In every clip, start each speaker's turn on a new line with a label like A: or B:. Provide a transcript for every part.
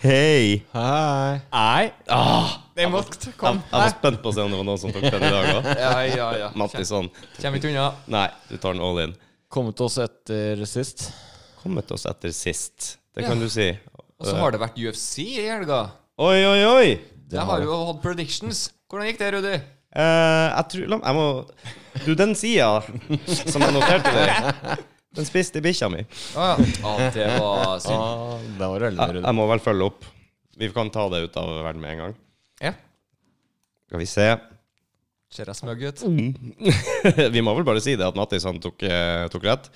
A: Hei!
B: Hei.
A: Nei.
C: Den måtte
A: Ah, Jeg,
C: komme.
A: jeg var spent på å se om det var noen som tok den i dag òg.
C: Ja, ja, ja.
A: Mattisson.
C: Kommer ikke unna.
A: Nei, du tar den all in.
B: Kommet oss etter sist.
A: Kommet oss etter sist. Det kan du si.
C: Og så har det vært UFC i helga.
A: Oi, oi, oi!
C: Jeg har jo hatt predictions. Hvordan gikk det, Rudi?
A: Eh, jeg tror la- Jeg må Du, den sida som jeg noterte der, den spiste bikkja mi.
C: Å ja. At det var synd.
B: Ah, det var veldig
A: Jeg,
B: ryddig.
A: jeg må vel følge opp. Vi kan ta det ut av verden med en gang.
C: Ja.
A: Skal vi se.
C: Ser jeg smøg ut? Mm.
A: vi må vel bare si det at Mattis han tok, eh, tok rett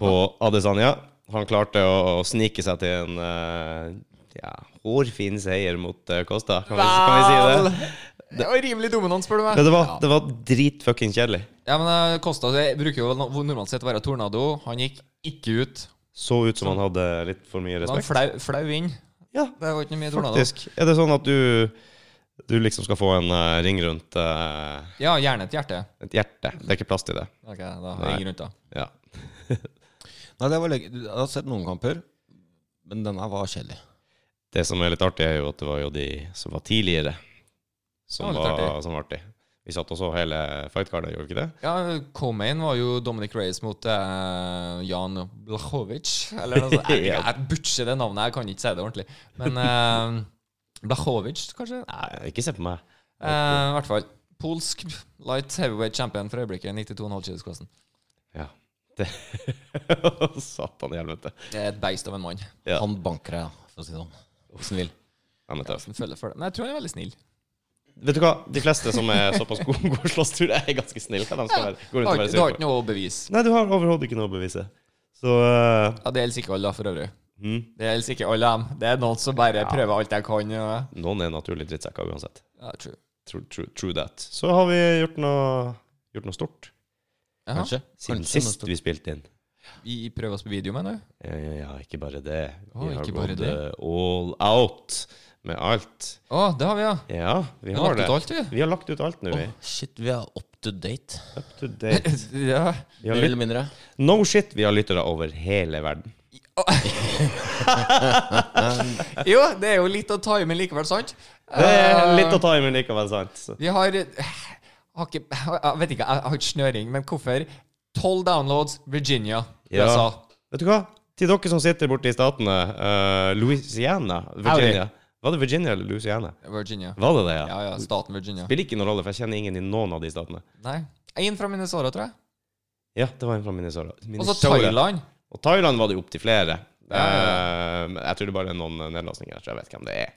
A: på Adesanya. Han klarte å, å snike seg til en eh, ja, hårfin seier mot eh, Costa. Kan vi, kan vi si det?
C: Det var rimelig dominant, spør du meg.
A: Men det var, det var dritfuckings kjedelig.
C: Ja, men eh, Kosta det bruker jo no- normalt sett å være tornado. Han gikk ikke ut.
A: Så ut som han hadde litt for mye
C: Han var
A: respekt.
C: flau, flau inn.
A: Ja,
C: Det var ikke noe mye tornado.
A: faktisk. Er det sånn at du, du liksom skal få en eh, ring rundt eh,
C: Ja, gjerne et hjerte.
A: et hjerte? Det er ikke plass til det.
C: Ok, da har jeg ingen rundt da.
A: Ja.
B: Nei, det var legg- Jeg har sett noen kamper, men denne var kjedelig.
A: Det som er litt artig, er jo at det var jo de som var tidligere, som
C: Ja, litt
A: var,
C: artig.
A: som var artig. Vi satt og så hele fightcardet, gjorde vi ikke det?
C: Ja, Comain var jo Dominic Reyes mot eh, Jan Blachowicz. Eller noe sånt. Jeg, jeg, jeg butcher det navnet, jeg kan ikke si det ordentlig. Men eh, Blachowicz, kanskje?
A: Nei, ikke se på meg.
C: Eh, I hvert fall. Polsk light heavyweight champion for øyeblikket. 92,5 kilosklassen.
A: Ja. Det. Satan i helvete.
C: Det er et beist av en mann.
A: Ja.
B: Han banker deg, for å si det sånn. Hvis han vil.
A: Nei, men altså. tøff.
C: Som følger for det. Men jeg tror han er veldig snill.
A: Vet du hva? De fleste som er såpass gode gode slåsstur, er ganske snille. De skal være, går
C: Du
A: rundt og
C: har
A: være
C: ikke- du har
A: sure
C: ikke
A: på.
C: noe bevis.
A: Nei, du har overhodet ikke noe å bevise. Så eh,
C: Ja, Det gjelder ikke alle, da, for øvrig.
A: Mhm.
C: Det gjelder ikke alle dem. Det er noen som bare prøver alt jeg kan. Ja,
A: noen er naturlig drittsekker uansett.
C: ja true.
A: True, true, true that. Så har vi gjort noe, gjort noe stort
C: Jaha.
B: Kanskje.
A: siden
B: Kanskje
A: sist vi spilte inn.
C: Vi prøver oss på video, mener du?
A: Eh, Ja, ikke bare det.
C: Å,
A: Vi har
C: ikke bare
A: gått
C: det.
A: eh, all out med alt.
C: Å, det har vi, ja.
A: Ja, vi
C: Vi
A: har
C: har
A: det.
C: lagt ut alt, vi.
A: Vi har lagt ut alt nå, vi.
B: Shit, vi er up to date.
A: Up to date.
C: Ja.
A: Vi
B: Mer
A: har
B: eller mindre.
A: No shit, vi har lyttere over hele verden.
C: Jo, det er jo litt å time likevel, sant? Eh,
A: Det er litt å ta i, men likevel sant. Så.
C: Vi har, eh, har ikke, Jeg vet ikke, jeg har ikke snøring, men hvorfor? Tolv downloads, Virginia,
A: Ja.
C: USA.
A: Vet du hva? Til dere som sitter borte i statene, eh, Louisiana, Virginia Var det Virginia eller Louisiana?
C: Virginia.
A: Var det det, ja?
C: Ja, ja, staten Virginia.
A: Spiller ikke noen rolle, for jeg kjenner ingen i noen av de statene.
C: Nei. En fra Minnesota, tror jeg.
A: Ja, det var en fra Minnesota.
C: Og så
A: Minnesota.
C: Thailand.
A: Og Thailand var det jo opptil flere.
C: Ja, ja,
A: Eh, men jeg tror det bare er noen eh, nedlastninger, så jeg vet hvem det er.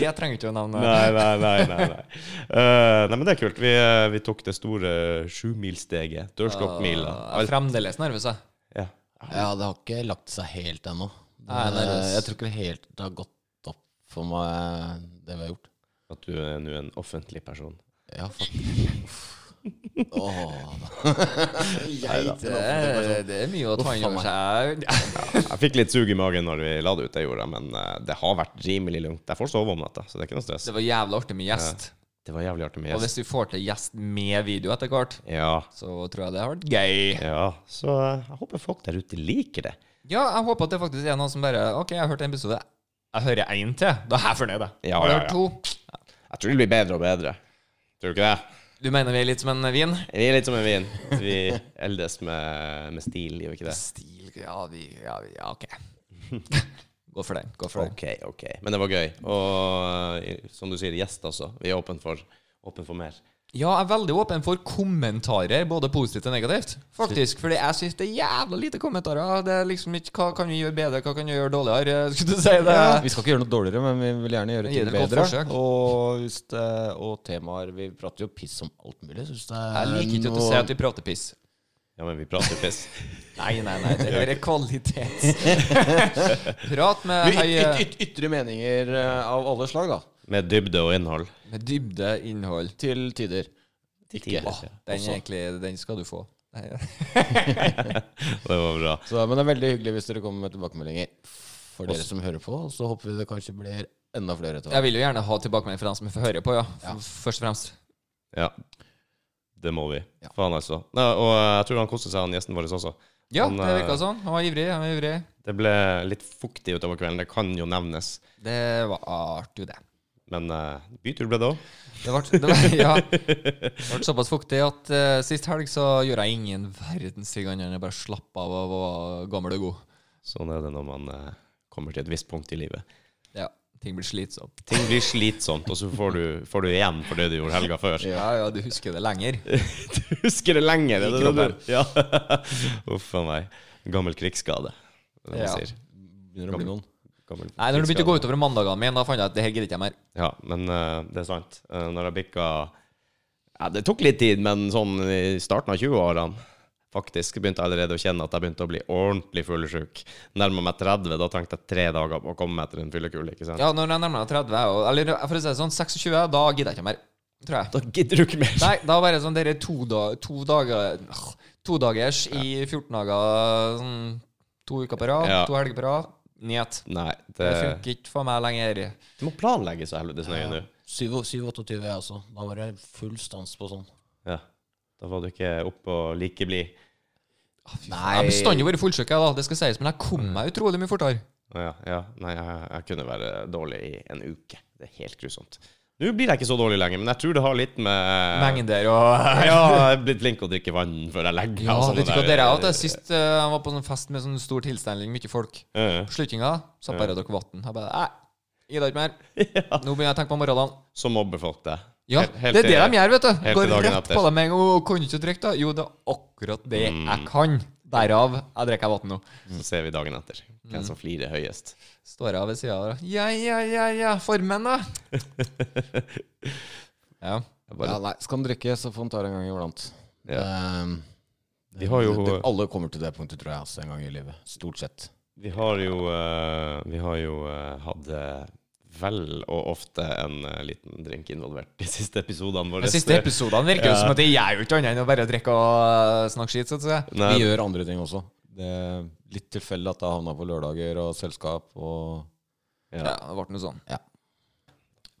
C: Jeg trenger ikke å nevne
A: Nei, nei, nei. nei, nei. Eh, nei men det er kult. Vi, eh, vi tok det store sjumilssteget. Dørstokkmila.
C: Jeg er fremdeles nervøs, jeg.
A: Ja.
B: Ja, det har ikke lagt seg helt ennå.
C: Nei,
B: Men,
C: det er-
B: eh, Jeg tror ikke det helt det har gått opp for meg, eh, det vi har gjort.
A: At du er nå en offentlig person.
B: Ja, faktisk. Åh,
C: Det er, det er mye å ta inn over seg.
A: Jeg fikk litt sug i magen når vi la det ut, det gjorde jeg, men eh, det har vært rimelig lugnt. Jeg får sove om natta, så det er ikke noe stress.
C: Det var jævlig artig med gjest.
A: Det var jævlig artig med
C: Og
A: gjest.
C: hvis vi får til gjest med video etter hvert,
A: Ja.
C: så tror jeg det har vært gøy.
A: ja. Så eh, jeg håper folk der ute liker det.
C: Ja, jeg håper at det faktisk er noen som bare OK, jeg har hørt en episode. Jeg hører én til. Da er jeg fornøyd, jeg.
A: Ja,
C: Har du
A: ja,
C: hørt
A: ja.
C: to?
A: Jeg tror det blir bedre og bedre. Tror du ikke det?
C: Du mener vi er litt som en vin?
A: Vi er litt som en vin. Vi eldes med, med stil, gjør vi ikke det?
C: Stil Ja, vi Ja, vi, ja OK. Gå for den. Gå for den.
A: Ok, ok. Men det var gøy. Og eh, som du sier, gjest også. Vi er åpne for, åpen for mer.
C: Ja, jeg er veldig åpen for kommentarer, både positivt og negativt. Faktisk, fordi jeg syns det er jævla lite kommentarer. Det er liksom ikke Hva kan vi gjøre bedre, hva kan vi gjøre dårligere? Skulle du si det?
B: Vi skal ikke gjøre noe dårligere, men vi vil gjerne gjøre
C: Gi
B: ting
C: det et godt
B: bedre.
C: forsøk.
B: Og, hvis det, og temaer Vi prater jo piss om alt mulig. så Hvis det er
C: Jeg liker ikke å
B: noe-
C: si at vi prater piss.
A: Ja, men vi prater piss.
C: Nei, nei, nei. Det er kvalitet. Prat med
B: Yt-
C: høye
B: yt- yt- Ytre meninger eh, av alle slag, da.
A: Med dybde og innhold.
C: Med dybde, innhold.
B: Til tider. Ikke.
A: Tidligere.
C: Den,
B: Også.
C: er egentlig, den skal du få. Nei,
A: Det var bra.
B: Så, men det er veldig hyggelig hvis dere kommer med tilbakemeldinger for dere som hører på. Så håper vi det kanskje blir enda flere etter hvert.
C: Jeg vil jo gjerne ha tilbakemelding fra dem som hører på, ja. F- Først og fremst.
A: Ja. Det må vi.
B: Ja.
A: Faen, altså. Nei, og eh, jeg tror han koste seg, han gjesten vår også.
C: Ja,
A: Han,
C: det
A: eh,
C: virka sånn. Han var ivrig. han var ivrig.
A: Det ble litt fuktig utover kvelden, det kan jo nevnes.
C: Det var artig, det.
A: Men eh, bytur ble det òg.
C: Det ble, det var- ja, det ble såpass fuktig at eh, sist helg så gjorde jeg ingen verdens ting annet enn å bare slappe av og var gammel og god.
A: Sånn er det når man eh, kommer til et visst punkt i livet.
C: Ja, ting blir slitsomt.
A: Ting blir slitsomt, og så får du, får du igjen for det du gjorde helga før.
C: Ja, ja, du husker det lenger.
A: Du husker det lenge. Det,
C: I
A: er det, det, du- ja. Uff a meg. Gammel krigsskade. er det man
C: Ja.
A: sier.
B: Begynner å bli noen.
A: Gammel
C: Nei, når det begynte å gå utover mandagene mine, da fant jeg at det her gidder ikke jeg mer.
A: Ja, men eh, det er sant. Eh, når jeg bikka ja, Det tok litt tid, men sånn i starten av 20-årene faktisk begynte jeg allerede å kjenne at jeg begynte å bli ordentlig fyllesyk. Nærma meg 30, da tenkte jeg tre dager på å komme etter en fyllekule. ikke sant?
C: Ja, når jeg nærmer meg 30, og, eller for å si det sånn, 26, da gidder jeg ikke mer. Tror jeg.
A: Da gidder du ikke mer.
C: Nei, da bare sånn dere to, da, to dager åh, To dagers i 14 dager sånn, To uker på rad,
A: Ja.
C: to helger på rad. Njet.
A: Nei,
C: Det
A: det,
C: funker ikke for meg lenger.
A: du må planlegge så helvetes nøye nå.
B: 27-28, jeg også. Da var det full stans på sånn.
A: Ja. Da var du ikke oppe og like blid.
C: Jeg har bestandig vært fullsjuk, jeg, da. Det skal sies, men jeg kom meg utrolig mye fortere.
A: Å Ja, ja. Nei, jeg, jeg kunne være dårlig i en uke. Det er helt grusomt. Nå blir jeg ikke så dårlig lenger, men jeg tror det har litt med
C: Mengder og
A: Ja, jeg er blitt flink til å drikke vann før jeg legger meg.
C: ja,
A: og sånne
C: vet du hva
A: der-
C: dere har hatt? Sist eh, jeg var på sånn fest med sånn stor tilstelning, mye folk.
A: Ja, ja.
C: På slutninga så bare drakk vann. Jeg bare Nei, gidder ikke mer. Nå begynner jeg å tenke på morgendagen.
A: Så mobber folk deg.
C: Ja,
A: Helt- helt
C: det er det
A: til-
C: de gjør, vet du.
A: helt til
C: Går
A: dagen
C: rett
A: etter. Mm.
C: på deg med en gang. «Å, Kan du ikke drikke, da? Jo, det er akkurat det jeg kan. Derav jeg drikker vann nå.
A: Så ser vi dagen etter
C: Mm.
A: hvem som flirer høyest.
C: Står jeg ved sida der. Ja, ja, ja, ja. Formen, da. ja.
B: Ja, nei, skal han drikke, så får han ta det en gang iblant. Ehm,
A: Vi har jo-
B: det- Alle kommer til det punktet, tror jeg, altså, en gang i livet. Stort sett.
A: Vi har jo, eh, vi har jo eh, hatt eh, vel og ofte en eh, liten drink involvert de siste episodene våre.
C: De siste episodene virker jo som at jeg gjør jo ikke annet enn å bare drikke og øh, snakke skit. Så å si.
A: Nei,
B: Vi gjør andre ting også. Det er litt tilfeldig at jeg havna på lørdager og selskap og
C: Ja, det ble noe sånn.
B: Ja.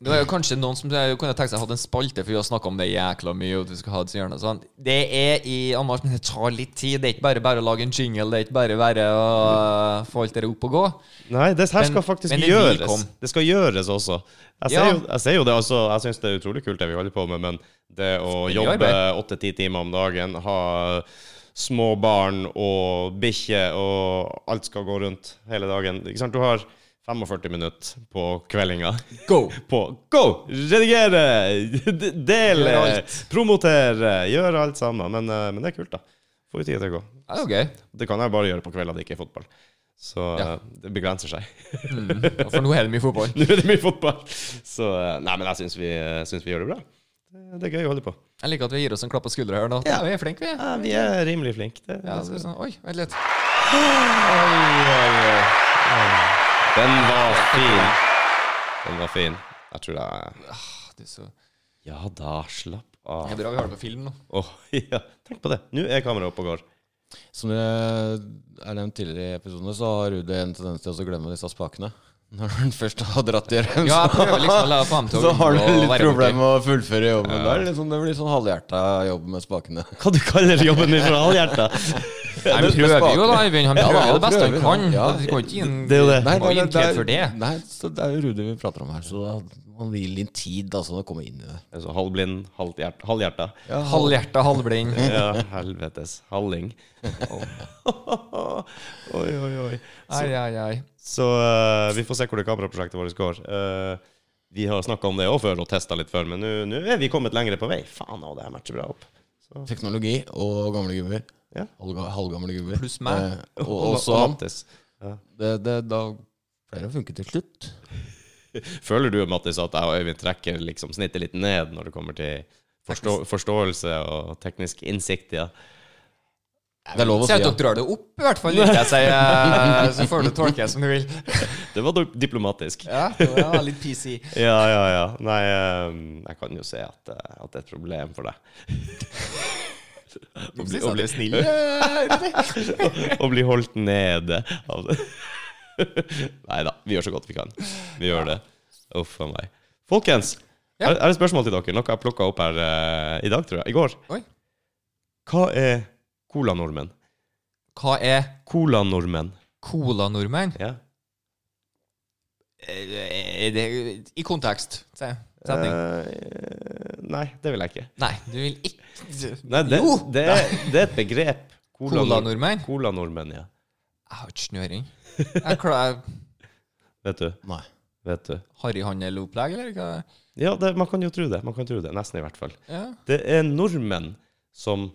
C: Det var jo kanskje noen som kunne tenkt seg å ha en spalte, for vi har snakka om det jækla mye. Og du skal ha det så gjerne og sånn Det er i Anders, men det tar litt tid. Det er ikke bare bare å lage en jingle, det er ikke bare bare å øh, få alt det opp og gå.
A: Nei, det her skal
C: Men-
A: faktisk
C: men det vi
A: gjøres.
C: kom.
A: Det skal gjøres også. Jeg ser,
C: Ja.
A: jo, jeg ser jo det, altså. Jeg syns det er utrolig kult det vi holder på med, men det å
C: Mye
A: jobbe
C: arbeid.
A: åtte-ti timer om dagen, ha små barn og bikkje og alt skal gå rundt hele dagen Ikke sant? Du har 45 minutter på kveldinga
C: Go!
A: på go! Redigere! d- Dele!
C: Gjør alt.
A: Promotere! Gjøre alt sammen. Men, eh, men det er kult, da. Får jo tid til å gå.
C: Det er jo gøy.
A: Det kan jeg bare gjøre på kvelden det ikke er fotball. Så
C: Ja.
A: eh,
C: Mm.
A: det begrenser seg.
C: Og For nå er det mye fotball.
A: Nå er det mye fotball. Så eh, Nei, men jeg syns vi, eh, syns vi gjør det bra. Det- Det er gøy å holde på.
C: Jeg liker at vi gir oss en klapp på skuldra her nå.
A: Ja.
C: Vi er flinke, vi.
A: Ja, vi er rimelig flinke. Det,
C: Ja, så er det sånn. Oi, vent litt.
A: eh, Den var fin. Den var fin. Jeg tror jeg
C: Ah, du så-
A: Ja da, slapp
C: Det
A: av.
C: er bra vi har det på film nå.
A: Åh, ja. Tenk på det. Nå er kameraet oppe og går.
B: Som dere er nevnt tidligere i episodene, så har Rudi en tendens til å glemme disse spakene. Når han først har dratt i dem,
C: Ja, jeg prøver liksom å la faen til å
B: så har han
C: unngå å
B: litt
C: være borti.
B: problemer med å fullføre jobben. Det, er liksom, det blir sånn halvhjerta jobb med spakene.
A: Hva du kaller jobben din for halvhjerta?
C: Nei, Han prøver jo, da. Øyvind. Han
B: Ja, da,
C: prøver
B: han
C: det beste han
B: prøver,
C: kan.
B: ja.
C: Det går ikke inn
A: Det er jo det.
C: Nei, nei, nei, for det.
B: Nei, så det er jo Rudi vi prater om her, så da, man vil litt tid altså, å komme inn i det.
A: Altså, halvblind, halvhjert- halvhjerta.
B: Ja,
C: Halvhjerta, halvblind.
A: Ja, helvetes. Halling. Oi, oi, oi.
C: Ai, ai, ai.
A: Så eh, vi får se hvor det kameraprosjektet vårt går. Eh, vi har snakka om det òg før og testa litt før, men nå- nå er vi kommet lengre på vei. Faen, og det her matcher bra opp.
B: teknologi og gamle gubber.
A: Ja.
B: Halvga- Halvgamle gubber.
C: Pluss meg.
B: Eh, og også han.
A: Mattis.
B: Det, det, da pleier det å funke til slutt.
A: Føler du, Mattis, at jeg og Øyvind trekker liksom snittet litt ned når det kommer til forstå forståelse og teknisk innsikt? Ja.
B: Det er lov å
C: Si
B: si.
C: at
B: Ja.
C: dere drar det opp, i hvert fall. Liker jeg sier, eh, så får du tolke det som du vil.
A: Det var dog diplomatisk.
C: Ja, det var litt PC.
A: Ja, ja, ja. Nei, eh, jeg kan jo se at, eh, at det er et problem for deg.
C: Du
A: bli-
C: synes
A: å
C: at
A: bli-
C: det er snill. eh,
A: Å bli holdt nede av det. Nei da, vi gjør så godt vi kan. Vi gjør det. Uff a meg. Folkens,
C: Ja.
A: er, er det spørsmål til dere? Noe jeg plukka opp her eh, i dag, tror jeg. I går.
C: Oi.
A: Hva er colanordmenn?
C: Hva er
A: Colanordmenn.
C: colanordmenn?
A: Ja.
C: Eh, Det, I kontekst. Se, setning.
A: Eh, nei, det vil jeg ikke.
C: Nei, du vil ikke
A: Nei, det,
C: Jo!
A: det, er, det er et begrep. Colanor-
C: Colanordmenn?
A: Colanordmenn, ja.
C: Jeg har ikke snøring. Jeg klarer
A: Vet du.
B: Nei.
A: Vet du.
C: harryhandel-opplegg, eller hva?
A: Ja, det, man kan jo tro det. Man kan tro det. Nesten, i hvert fall.
C: Ja.
A: Det er nordmenn som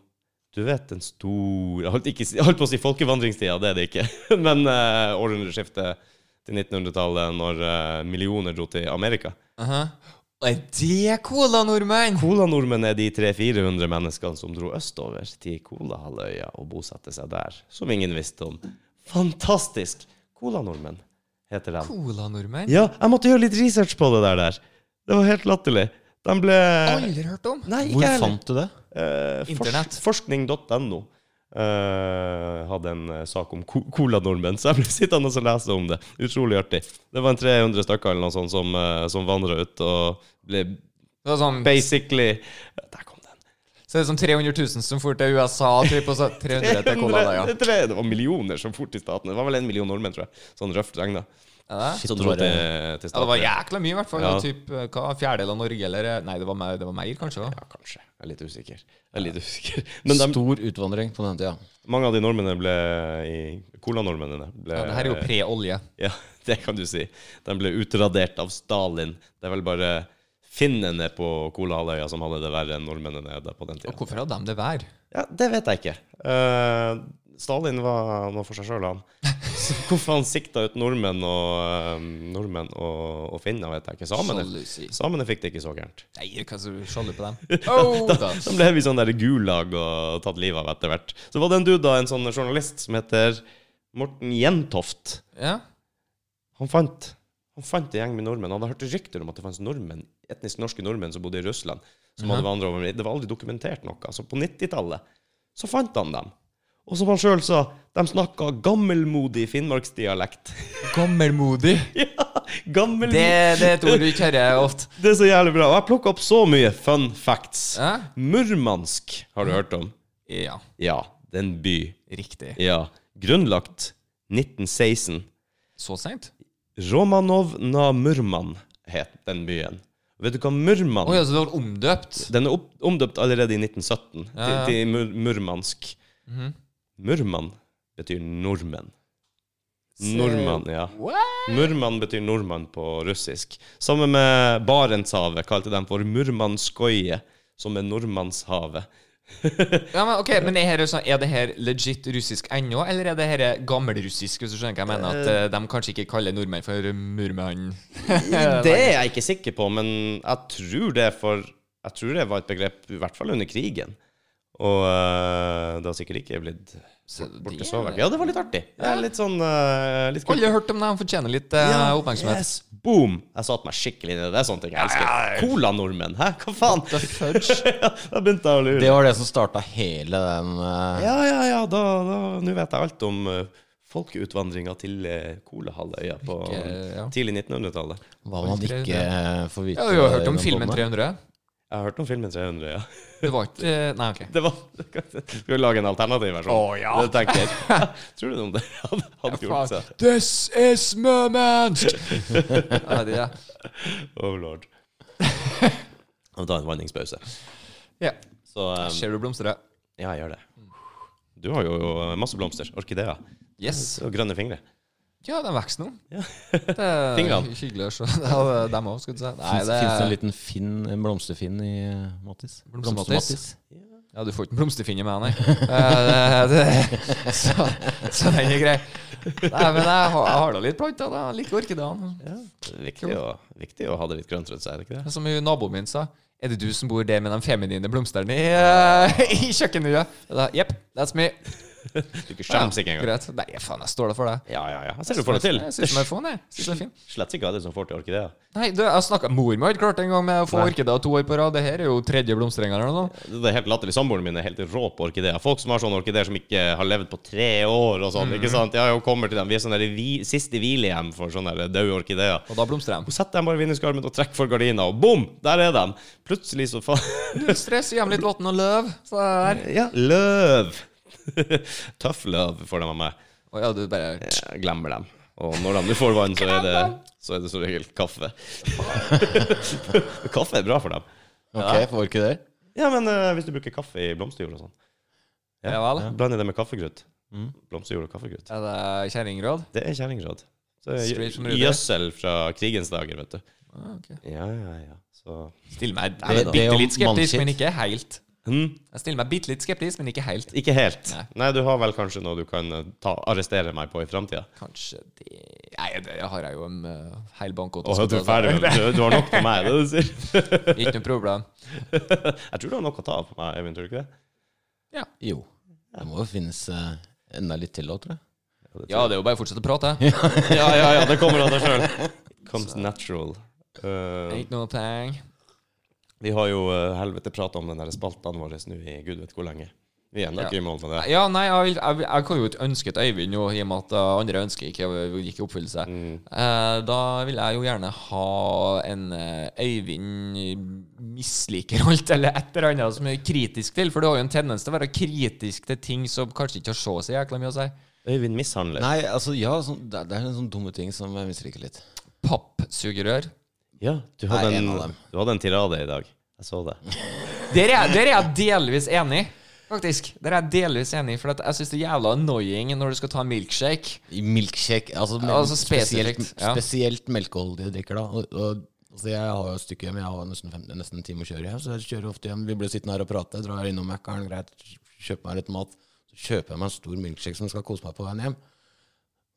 A: Du vet, den store Jeg holdt, ikke, jeg holdt på å si folkevandringstida, det er det ikke. Men eh, århundreskiftet til 1900-tallet, når eh, millioner dro til Amerika.
C: Aha. Er det colanordmenn?
A: Colanordmenn er de 300-400 menneskene som dro østover til Colahalvøya og bosatte seg der, som ingen visste om. Fantastisk! Colanordmenn heter de.
C: Colanordmenn?
A: Ja, jeg måtte gjøre litt research på det der. der. Det var helt latterlig. De ble
C: Aldri hørt om.
A: Nei, ikke
B: Hvor
A: heller.
B: fant du det?
A: Eh, fors-
C: Internett.
A: Forskning.no eh, hadde en eh, sak om co- colanordmenn, så jeg ble sittende og lese om det. Utrolig artig. Det var en 300 stykker eller noe sånt som, uh, som vandra ut og ble
C: Det var sånn,
A: basically Der kom den.
C: så det er sånn 300 000 som for til USA, typ, og så 300 til
A: 300,
C: Colanøya.
A: det tre- det var millioner som for til staten. Det var vel en million nordmenn, tror jeg. Sånn røft regna.
C: Er det?
A: Som
B: det
A: dro
B: var-
A: til, til
C: Ja, det
A: staten.
C: var jækla mye, i hvert fall.
A: Ja.
C: Typ, eh, hva, fjerdedel av Norge, eller eh, Nei, det var mer, det var mer kanskje. da.
A: Ja, kanskje. Jeg er litt usikker. Jeg er litt usikker. Men de,
B: Stor utvandring på den tida.
A: mange av de nordmennene ble i Colanordmennene ble
C: Ja, det her er jo pre-olje.
A: Ja, det kan du si. De ble utradert av Stalin. Det er vel bare finnene på Kolahalvøya som hadde det verre enn nordmennene der på den
C: Og
A: tida.
C: hvorfor hadde de det vær?
A: Ja, det vet jeg ikke. Eh, Stalin var, han var for seg sjøl, han. Så hvorfor han sikta ut nordmenn og, eh, nordmenn og, og finner, vet jeg ikke. Samene,
C: Sjalusi.
A: samene fikk det ikke så gærent.
C: Nei, hva så sjalu på dem? Oh, da.
A: De ble vi sånn der gulag og tatt livet av etter hvert. Så var det en dude, da, en sånn journalist som heter Morten Jentoft.
C: Ja.
A: Han fant Han fant en gjeng med nordmenn. Han hadde hørt rykter om at det fantes nordmenn, etnisk norske nordmenn som bodde i Russland. Som hadde vandret over Det var aldri dokumentert noe. Altså, på 90-tallet så fant han dem. Og som han sjøl sa, de snakka gammelmodig finnmarksdialekt.
C: Gammelmodig.
A: ja, gammel...
C: Det,
A: det...
C: det er et ord du ikke hører ofte.
A: er så jævlig bra. Og jeg plukka opp så mye fun facts.
C: Ja.
A: Murmansk har du hørt om?
C: ja.
A: Ja, det er en by.
C: Riktig.
A: Ja. Grunnlagt 1916.
C: Så seint?
A: Romanov na Murman het den byen. Vet du hva Murman
C: Å ja, så det var omdøpt?
A: Den er opp, omdøpt allerede i 1917 til,
C: Ja, Mhm. ja.
A: til Mur Murmansk. Murman betyr nordmenn. Nordmann, ja.
C: What?
A: Murman betyr nordmann på russisk. Sammen med Barentshavet kalte de for Murmanskoje, som er nordmannshavet.
C: Ja, men, ok, men er, her, sånn- er det her legit russisk ennå, eller er det her gammelrussisk, hvis du skjønner hva jeg mener? At eh, de kanskje ikke kaller nordmenn for murmannen?
A: Det er jeg ikke sikker på, men jeg tror det, for, jeg tror det var et begrep i hvert fall under krigen. Og øh, det har sikkert ikke blitt
C: Så det
A: borte så
C: er-
A: vekk. Ja, det var litt artig. Det er litt sånn øh, litt kult.
C: Alle har hørt om det, han fortjener litt eh,
A: Ja,
C: oppmerksomhet.
A: Yes. Boom! Jeg satte meg skikkelig inn i det. Det er sånne ting jeg elsker. Cola-nordmenn, hæ? Hva faen?
C: The fudge.
A: da begynte jeg å
B: Det
A: lure.
B: var det som starta hele den eh,
A: Ja, ja, ja. Da, da, nå vet jeg alt om uh, folkeutvandringa til uh, Kolahalvøya på
C: Ikke, ja.
A: tidlig 1900-tallet.
B: Hva man ikke eh, får vite.
C: Ja, du har
B: i
C: hørt om
B: den
C: filmen
B: podden her.
C: 300?
A: Jeg har hørt om filmen 300, ja.
C: Det var ikke eh, Nei, OK.
A: Det var Skal vi lage en alternativ versjon?
C: Å, ja.
A: Det tenker jeg. Tror du om det hadde, hadde gjort seg?
C: This is moment! ja, det er det.
A: Oh lord. Og ta en vanningspause.
C: Ja.
A: Så um,
C: Ser du blomstret?
A: ja, gjør det. Du har jo uh, masse blomster. Orkideer.
C: Yes.
A: Og grønne fingre.
C: Ja, den vokser nå.
A: Ja.
C: Det er
A: Fingrene.
C: hy- Hyggelig å se. Ja, dem òg, skal du si. Nei,
B: Fins
C: det
B: det en
C: er
B: liten finn, en blomsterfinn i eh, Mattis?
C: Blomster-Mattis?
B: Blomster-Mattis?
C: Ja, du får ikke en blomsterfinne med den, nei. Eh, det- det- Så, så den er grei. Nei, men jeg har, jeg har da litt planter. da. Jeg liker orkideene.
A: Ja. det er Viktig, å, viktig å ha det litt grønt rundt seg, er det ikke
C: Men
A: det?
C: Som hun naboen min sa Er det du som bor der med de feminine blomsterne i, eh, i kjøkkenhuet? Og da, Jepp, that's me.
A: Du ikke skjemmes ikke engang.
C: Greit. Nei, faen, jeg står der for det.
A: Ja, ja, ja. Jeg ser du får det til.
C: Jeg synes den er fin, jeg. Synes den er fin.
A: Slett ikke alle som får til orkidea.
C: Nei, du, jeg snakket Mor mi har ikke klart det engang med å få orkideer to år på rad. Det her er jo tredje blomsterenga eller noe. sånt.
A: Det er helt latterlig. Samboeren min er helt rå på orkideer. Folk som har sånne orkideer som ikke har levd på tre år og sånn, ikke sant. Ja, ja, hun kommer til dem. Vi er sånn der i vi, siste hvilehjem for sånne der døde orkideer.
C: Og da blomstrer de.
A: Hun setter dem bare i vinduskarmen og trekker for gardina, og bom! Der er de! Plutselig så faen
C: Null stress, gi dem litt vann og løv. Så er det der.
A: Ja, løv! Tøff løv får de av meg.
C: Å ja, du bare
A: Jeg glemmer dem. Og når de nå får vann, så er det så er det som regel kaffe. kaffe er bra for dem.
B: Ok, for orkideer.
A: Ja, men eh, hvis du bruker kaffe i blomsterjord og sånn,
C: Ja vel.
A: blander det med kaffegrøt. Blomsterjord og kaffegrøt.
C: Er det kjerringråd?
A: Det er kjerringråd. Så er
C: Straight from
A: gjø-
C: Rudøy.
A: Gjødsel fra krigens dager, vet du.
C: Ah, ok.
A: Ja, ja, ja. Så
C: Stiller meg
B: Det- det
C: bitte
B: om
C: litt skeptisk,
B: mannskitt.
C: men ikke helt.
A: hm,
C: Jeg stiller meg bitte litt skeptisk, men ikke helt.
A: Ikke helt.
C: Nei.
A: Nei. du har vel kanskje noe du kan eh, ta, arrestere meg på i framtida?
C: Kanskje det Nei, det har jeg jo en uh, hel bankkonto.
A: Å, du er ferdig med det. Du, du har nok på meg, det du sier.
C: altså. Ikke noe problem.
A: Jeg tror du har nok å ta av på meg, Øyvind, tror du ikke det?
B: Jo. Det må jo finnes eh, enda litt til da, tror jeg.
C: Ja, det er jo bare å fortsette å prate.
A: Ja, ja, ja, det kommer av deg sjøl. Comes natural. Eh,
C: Ikke noe peng.
A: vi har jo uh, helvete prata om den der spalten vår nå i gud vet hvor lenge. Vi er ennå ikke i mål med det.
C: Ja, nei, jeg, vil, jeg, vil- jeg kan jo ikke ønske et Øyvind nå, i og med at uh, andre ønsker ikke gikk i oppfyllelse. Eh, da vil jeg jo gjerne ha en eh, Øyvind misliker alt, eller et eller annet som er kritisk til. For du har jo en tendens til å være kritisk til ting som kanskje ikke har så så jækla mye å si.
A: Øyvind mishandler.
B: Nei, altså, ja, sånn, det, er- det er en sånn dumme ting som jeg misliker litt.
C: Pappsugerør.
A: Ja, du
B: Nei,
A: hadde,
B: en av
A: en,
B: dem.
A: du hadde en tirade i dag. Jeg så det.
C: Der er, jeg- der er jeg delvis enig, faktisk. Der er jeg delvis enig, for at jeg syns det er jævla annoying når du skal ta en milkshake.
B: I Milkshake, altså, mel-
C: Altså
B: spesielt,
C: spesifikt, ja.
B: spesielt melkeholdige drikker, da. Og, og, altså, jeg har jo et stykke hjem, jeg har nesten, fem, nesten en time å kjøre hjem, så jeg kjører ofte hjem. Vi blir sittende her og prate, jeg drar innom Mækkern, greit, kjøper meg litt mat. Så kjøper jeg meg en stor milkshake som jeg skal kose meg på veien hjem.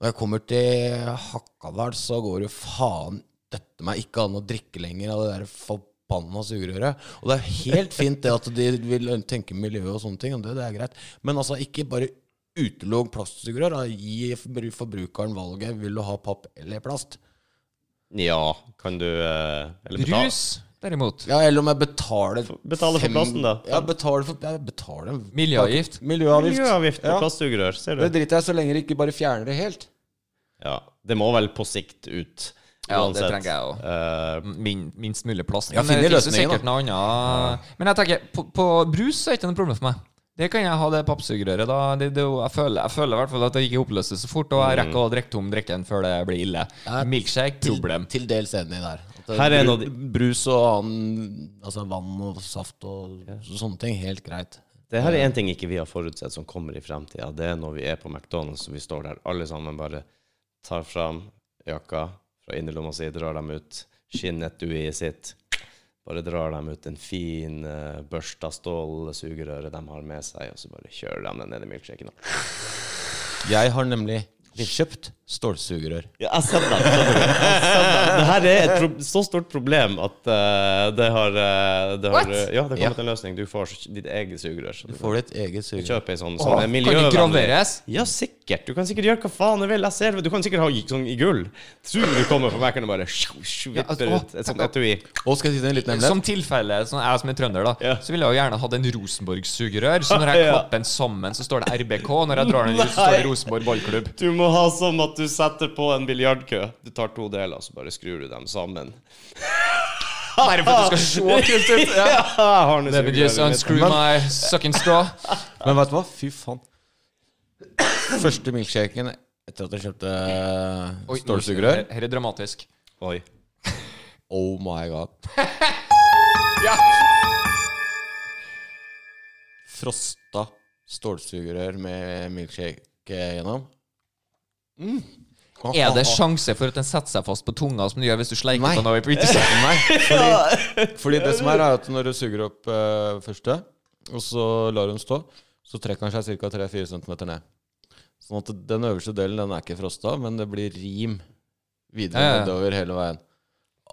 B: Når jeg kommer til Hakadal, så går det jo faen dette meg ikke an å drikke lenger av det der forbanna sugerøret. Og det er jo helt fint det at de vil tenke miljø og sånne ting, og det, det er greit. Men altså, ikke bare utelogg plastsugerør. da. Gi forbru- forbrukeren valget. Vil du ha papp eller plast?
A: Ja, kan du eh, eller betale-
C: Brus, derimot.
B: Ja, eller om jeg betaler
A: betale for
B: fem-
A: plasten, da.
B: Ja, betaler for jeg betaler en
C: Miljøavgift.
B: Miljøavgift.
A: Miljøavgift på
B: Ja.
A: plastsugerør, ser
B: Det
A: du.
B: driter jeg i så lenge de ikke bare fjerner det helt.
A: Ja, det må vel på sikt ut.
C: Ja, det trenger jeg også.
A: Eh,
C: Min, minst mulig plast.
B: Ja,
C: Men det
B: finner
C: finnes jo
B: løsninger,
C: sikkert noe annet. Men jeg tenker, på, på brus så er ikke det noe problem for meg. Det kan jeg ha, det pappsugerøret. da. Det, det, er jo- jeg, føler, jeg føler i hvert fall at det ikke oppløses så fort, og jeg rekker å drikke tom drikken før det blir ille. Milkshake, problem.
B: Til dels enig der. At det-
A: Her er en av
B: bru-
A: de-
B: Brus og annen Altså vann og saft og sånne ting. Helt greit.
A: det her er én ting ikke vi har forutsett som kommer i fremtida. Det er når vi er på McDonald's og vi står der alle sammen bare tar fram jakka fra innerlomma si, drar dem ut, skinnetuiet sitt. Bare drar dem ut en fin eh, børsta stålsugerøre de har med seg, og så bare kjører de den ned i milkshaken. og-
B: Jeg har nemlig kjøpt stålsugerør.
A: Ja, jeg ser den. skjønner du. Jeg ser den. Det her er et pro så stort problem at eh, det har, eh, det har
C: What?
A: Ja, det
B: Ja.
A: kommer til en løsning. Du får ditt eget sugerør. så
B: Du
A: Du
B: får ditt eget
A: kan
B: sugerør.
A: kjøpe ei sånn som er
C: Kan ikke
A: miljøvennlig.
C: graveres.
A: Ja, sikkert. Du kan sikkert gjøre hva faen du vil. Jeg ser det. Du kan sikkert ha i- sånn i gull. Tror du kommer på Mac-en og bare sju, sju,
C: Ja, altså,
A: vipper
C: å,
A: ut et sånt etui.
B: Og skal jeg si deg en liten hemmelighet?
C: Som tilfelle, sånn jeg som er trønder, da,
A: Ja.
C: så ville jeg jo gjerne hatt en Rosenborg-sugerør. Så når jeg
A: Ja.
C: klapper den sammen, så står det RBK. og Når jeg drar den ut, så står det Rosenborg ballklubb.
A: Du må ha sånn at du setter på en biljardkø. Du tar to deler, så bare skrur du dem sammen.
C: Bare for at det skal se kult
A: Ja,
C: ut. Ja.
A: jeg har nå
C: Let me just
A: sugerøret mitt.
C: unscrew my sucking straw.
B: Men vet du hva? Fy faen. Første milkshaken etter at jeg kjøpte
C: Oi,
B: stålsugerør
C: her- Her er dramatisk.
A: Oi.
B: Oh my god. Frosta stålsugerør med milkshake gjennom. Mm.
C: Er det sjanse for at den setter seg fast på tunga, som den gjør hvis du sleiker
B: Nei.
C: på den over på yttersida?
B: Nei, fordi, fordi det som er, er at når du suger opp eh, første, og så lar hun stå, så trekker han seg ca. 3-4 cm ned. Sånn at den øverste delen den er ikke frosta, men det blir rim
C: Ja,
B: videre
C: ja.
B: nedover hele veien.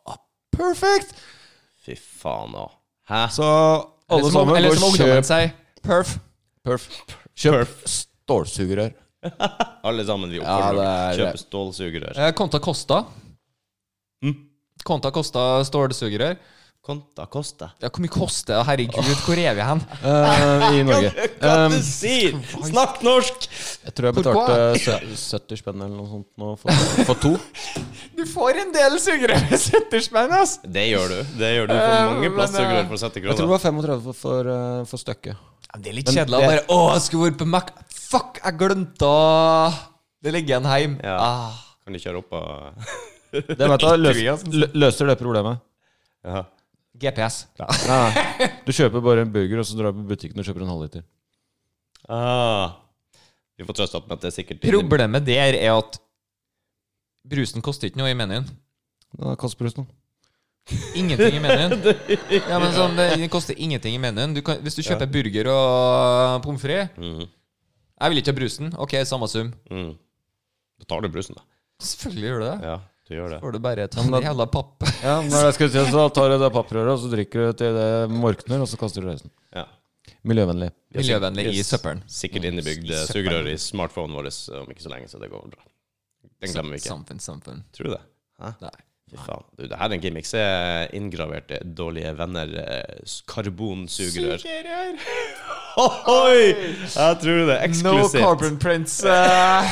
B: Ah, perfekt!
A: Fy faen òg. Hæ?
B: Så
C: Eller
B: alle
C: som,
B: sammen
C: eller
B: går
C: som
B: og
C: ungdommen
B: kjøp
C: sier, perf.
B: Perf. Kjøp s- Stålsugerør.
A: Alle sammen vi
C: Ja,
A: oppfordrer dere.
C: det er-
A: Kjøp stålsugerør.
C: Eh, Conta Costa.
A: Mm.
C: Conta Costa stålsugerør.
A: Conta Costa.
C: Ja, hvor mye koster det? Herregud, hvor er vi hen?
B: eh, I Norge.
A: Hva
C: Ehm,
B: Um,
A: du sier? Snakk norsk!
B: jeg tror jeg
C: Hvorfor?
B: betalte sø- 70 spenn eller noe sånt nå for, for to.
C: Du får en del sugerør med setterspenn, ass!
A: Det gjør du. Det gjør du
C: Eh,
A: for mange
C: men, eh,
A: plastsugerør for 70
B: Jeg tror det
A: kroner.
B: var 35 for, for, eh, for stykket.
C: Ja, men det er litt
B: Men
C: kjedelig. å Bare,
B: det-
C: å, jeg skulle vært på Mac. Fuck, jeg glemte å Det ligger en heim.
A: Ja.
C: Ah.
A: Kan du kjøre opp og
B: Det vet du,
C: Ikke
B: løs,
C: vi,
B: lø- løser det problemet.
A: ja.
C: GPS.
B: Nei, du kjøper bare en burger, og så drar du på butikken og kjøper en halvliter.
A: ah. Vi får trøste opp med at det er sikkert
C: Problemet der er at brusen koster ikke noe i menyen.
B: Da kaster du ut noe.
C: Ingenting i menyen. Ja, men sånn, det, det koster ingenting i menyen. Du kan, hvis du kjøper burger og pommes frites
A: Mhm.
C: Jeg vil ikke ha brusen. Ok, samme sum.
A: Mm. Betaler du brusen, da?
C: Selvfølgelig gjør du det.
A: Ja, du gjør det.
C: Får du bare et
B: Ja, men da-
C: jævla papp.
B: Ja, når jeg skal si, så tar du det papprøret, og så drikker du til det morkner, og så kaster du resten.
A: Ja.
B: Miljøvennlig.
C: Miljøvennlig i søppelen.
A: Sikkert innebygd
C: I
A: eh,
C: søppelen.
A: sugerør i smartphonen vår om ikke så lenge, så det går bra. Den glemmer vi ikke.
C: Samfunn, samfunn.
A: Tror du det? Hæ?
C: Nei.
A: Fy faen. Du, det her er en gimmick. Se inngraverte dårlige venner eh, s- karbonsugerør.
C: Sugerør.
A: Ohoi! Jeg tror det.
C: No
A: Eksklusivt.
C: carbon prints. eh.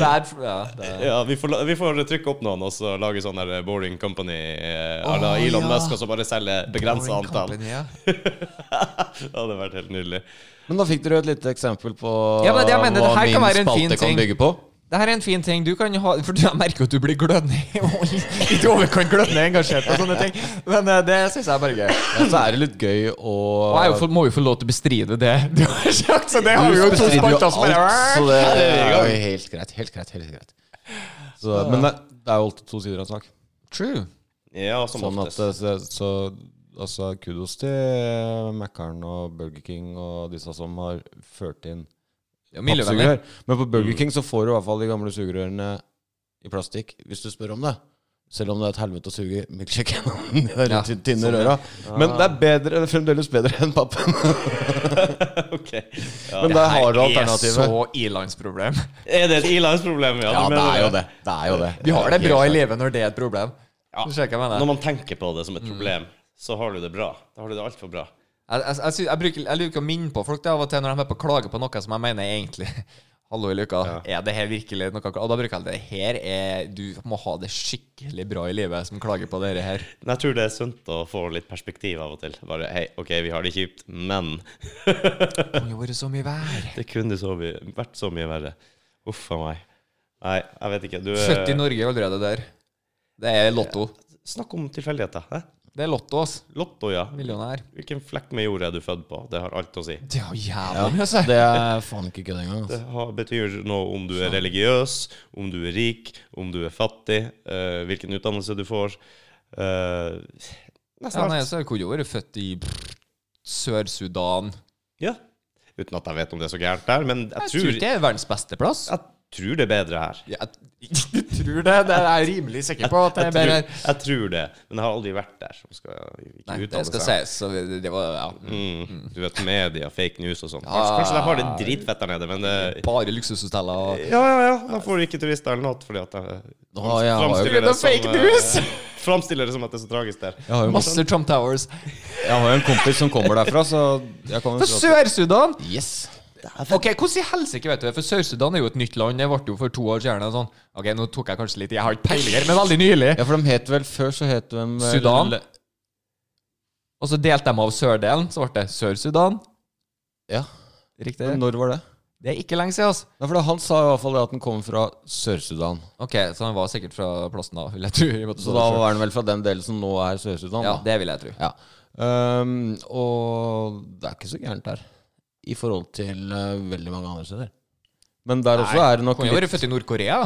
C: bad for, ja, det er.
A: Ja, vi får, la- vi får trykke opp noen og så lage sånn der Boring Company eh, à la
C: Åh,
A: Elon
C: ja.
A: Musk, og så bare selge begrensa
C: Boring
A: antall.
C: Company, ja.
A: Det hadde vært helt nydelig.
B: Men da fikk dere et lite eksempel på
C: Ja, men det jeg mener, det her
B: hva
C: kan
B: min
C: være en fin
B: spalte
C: ting.
B: kan bygge på.
C: Det her er en fin ting du kan ha For jeg merker jo at du blir glødende og litt i overkant glødende engasjert og sånne ting. Men eh, det syns jeg er bare gøy.
B: Ja, så er det litt gøy å
C: Og jeg er jo for- må jo få lov til å bestride det du har sagt, så det har
B: Du
C: vi jo to
B: bestrider jo
C: spalter som
B: alt, så
C: bare
B: det
A: det er vi i
B: er
A: gang.
B: jo helt greit. Helt greit. helt greit så, Men det, det er jo alltid to sider av en sak.
C: True.
A: Ja, som
B: Sånn at
A: oftest.
B: det- så, så altså, kudos til Mækkern og Burger King og disse som har ført inn
C: Ja, Miljøvennlig. Mm.
B: pappsugerør. Men på Burger King så får du i hvert fall de gamle sugerørene i plastikk, hvis du spør om det. Selv om det er et helvete å suge milkshake gjennom de der
C: Ja,
B: ty- tynne
C: sånn,
B: røra. Men det er bedre, det er fremdeles bedre enn pappen.
A: Ok. Ja.
B: Men der har
C: Det
B: du
C: her
B: alternativet.
C: er så i-landsproblem.
A: Er det et Elans-problem?
B: Ja,
A: du
B: det
A: mener
B: er jo det. Det er jo det.
C: Vi har det
B: Helt
C: bra i
B: klart.
C: livet når det er et problem.
A: Ja.
C: Du ser hva jeg mener.
A: Når man tenker på det som
B: Mm.
A: et problem, så har du det bra. Da har du det altfor bra.
C: Jeg, jeg, jeg, sy- jeg, bruker, jeg liker å minne på folk det av og til når de er på å klage på noe som jeg mener egentlig Hallo i luka, er det her virkelig noe Og da bruker jeg det her er Du må ha det skikkelig bra i livet som klager på det her.
A: Men jeg tror det er sunt å få litt perspektiv av og til. Bare hei, OK, vi har det kjipt, men
C: Det må jo være så mye vær.
A: det kunne så mye, vært så mye verre. Uff a meg. Nei, jeg vet ikke. Du eh,
C: Født i Norge allerede der. Det er lotto.
A: Snakk om tilfeldigheter. hæ?
C: Det er lotto, ass.
A: Lotto, ja.
C: Millionær.
A: Hvilken flekk med jord er du født på? Det har alt å si.
C: Det er jo
B: Ja,
C: jævla mye, altså.
B: Det er faen ikke kødd engang.
A: Det
B: Altså.
A: har, betyr noe om du er religiøs, om du er rik, om du er fattig, eh, hvilken utdannelse du får. Eh,
C: Ja,
A: nesten
C: nei,
A: alt.
C: så jeg kunne jo vært født i pff, Sør-Sudan.
A: Ja. Uten at jeg vet om det er så gærent der, men jeg,
C: Jeg
A: tror,
C: tror det er verdens beste plass.
A: jeg tror det er bedre her.
C: Jeg, jeg tror det. Det er jeg rimelig sikker på at det
A: Jeg
C: er bedre.
A: tror, jeg tror det, men jeg har aldri vært der. Som skal ikke
C: Nei, det
A: uttale
C: skal
A: seg.
C: sies. Så det, det var ja.
A: Mm. Du vet, media, fake news og sånn. Kanskje,
C: Ja.
A: kanskje de har det dritfett der nede, men det,
C: Bare luksushoteller og
A: Ja, ja, ja. Da får ikke turister eller noe, fordi at de
B: Å, ja,
A: framstiller
C: det er
A: det som,
C: fake news!
A: eh, Framstiller det som at det er så tragisk der.
B: Jeg har jo
C: masse Trump Towers.
B: jeg har jo en kompis som kommer derfra, så jeg kan
C: Fra
B: jo si at-
C: Sør-Sudan!
B: Yes.
C: Ok, Hvordan i helsike vet du det? For Sør-Sudan er jo et nytt land. Det ble jo for to år siden. og Sånn. Ok, nå tok jeg kanskje litt Jeg har ikke peiling, her, men veldig nylig.
B: Ja, for de het vel Før så het de vel-
C: Sudan. Og så delte de av sørdelen, så ble det Sør-Sudan.
B: Ja.
C: Riktig.
B: Men Når var det?
C: Det er ikke lenge siden, altså.
B: Nei, for da, han sa i hvert fall det at han kommer fra Sør-Sudan.
C: Ok, så han var sikkert fra plassen da, vil jeg tro. i og med at han
B: Så
C: sa
B: da
C: det selv.
B: var han vel fra den delen som nå er Sør-Sudan.
C: Ja,
B: da.
C: det vil jeg tro.
B: Ja. Ehm, og det er ikke så gærent der, i forhold til eh, veldig mange andre steder. Men der også er det nok
C: Kunne jo
B: litt
C: vært født i Nord-Korea.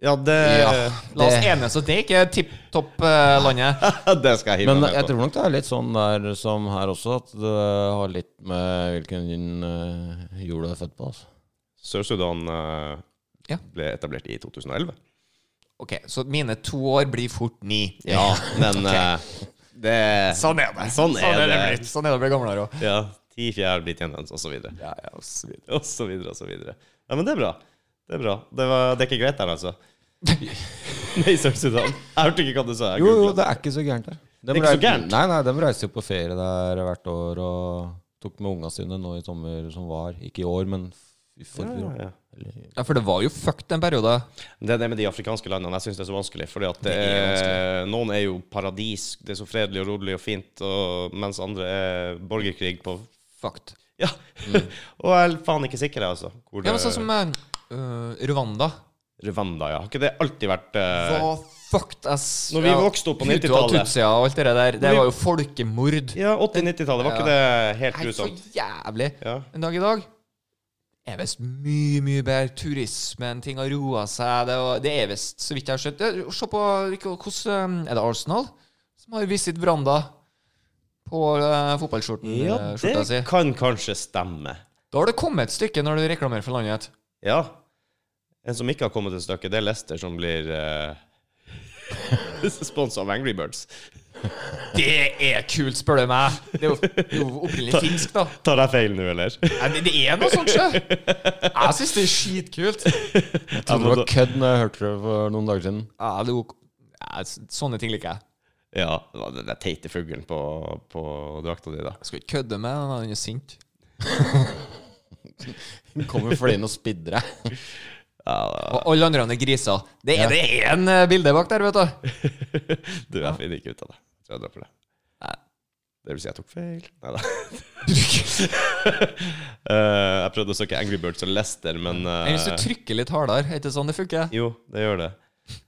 A: Ja, det
B: Ja.
C: Eh, La oss
B: Det-
C: enes at det ikke er tipp topp eh, landet.
A: Det skal jeg hive
B: Men
A: meg
B: jeg
A: med på.
B: tror nok det er litt sånn der som her også, at det har litt med hvilken eh, jord du er født på. Altså.
A: Sør-Sudan eh,
C: Ja.
A: ble etablert i 2011.
C: Ok, så mine to år blir fort ni.
A: Ja, men eh, det
C: Sånn er det.
A: Sånn er det.
C: blitt. Sånn er det å bli gamlere òg.
A: Ja, Ti fjær blir til en høns, og så videre.
C: Ja, ja, og så videre.
A: Og så videre, og så videre. Ja, men det er bra. Det er bra. Det, var, det er ikke greit der, altså. Nei, Sør-Sudan. Jeg hørte ikke hva du sa. Jeg
B: Jo, jo,
A: googlet.
B: det er ikke så gærent der. De
A: Det er ikke så gærent?
B: Nei, nei, de reiser jo på ferie der hvert år og tok med unga sine nå i sommer som var. Ikke i år, men i forrige år.
A: Ja, ja.
B: Eller-
C: Ja, for det var jo fucked en periode.
A: Det er det med de afrikanske landene. Jeg syns det er så vanskelig. Fordi at det
C: Det er
A: er, noen er jo paradis. Det er så fredelig og rolig og fint, og, mens andre er borgerkrig på
C: Fucked.
A: Ja!
C: Mm.
A: og jeg er faen ikke sikker, jeg, altså. Hvor
C: Ja, men sånn som eh, Rwanda.
A: Rwanda, ja. Har ikke det alltid vært eh,
C: Var fucked ass.
A: Når vi vokste opp på 90-tallet.
C: Hutu og Tutsia og alt det der. Det
A: Når vi-
C: var jo folkemord.
A: Ja, 80-90-tallet. Var ikke det helt
C: Helt så
A: grusomt?
C: jævlig.
A: Ja.
C: En dag i dag er visst mye, mye bedre. Turismen, ting har roa seg. Det, var, det er visst, så vidt jeg har skjønt Det- Se på ikke- hvordan eh, Er det Arsenal som har Visit Branda på eh, fotballskjorten?
A: ja,
C: eh, skjorta si?
A: det kan kanskje stemme.
C: Da har det kommet et stykke når du reklamerer for landet.
A: Ja. En som ikke har kommet et stykke, det er Lester, som blir uh, sponsa av Angry Birds.
C: Det er kult, spør du meg! Det er jo, det er jo opprinnelig finsk, da.
A: Tar jeg feil nå, eller?
C: Nei, men det er noe sånt, sjø! Jeg syns det er skitkult.
B: Jeg trodde det var kødd når jeg hørte det for noen dager siden.
C: Ja, det er ok. ja, s- sånne ting liker jeg.
A: Ja, det var den der teite fuglen på, på drakta di, da.
C: Jeg skal ikke kødde med den, han er sint.
B: Kommer fløyende og spidder deg.
C: Og alle andre han er griser. Det er det én eh, bilde bak der, vet du.
A: Du, jeg finner ikke ut av det. Jeg tror jeg dropper det.
C: Nei.
A: Det vil si, jeg tok feil. Nei da. Eh, jeg prøvde å søke Angry Birds og Lester, men eh,
C: Men hvis du trykker litt hardere, er det ikke sånn det funker?
A: Jo, det gjør det.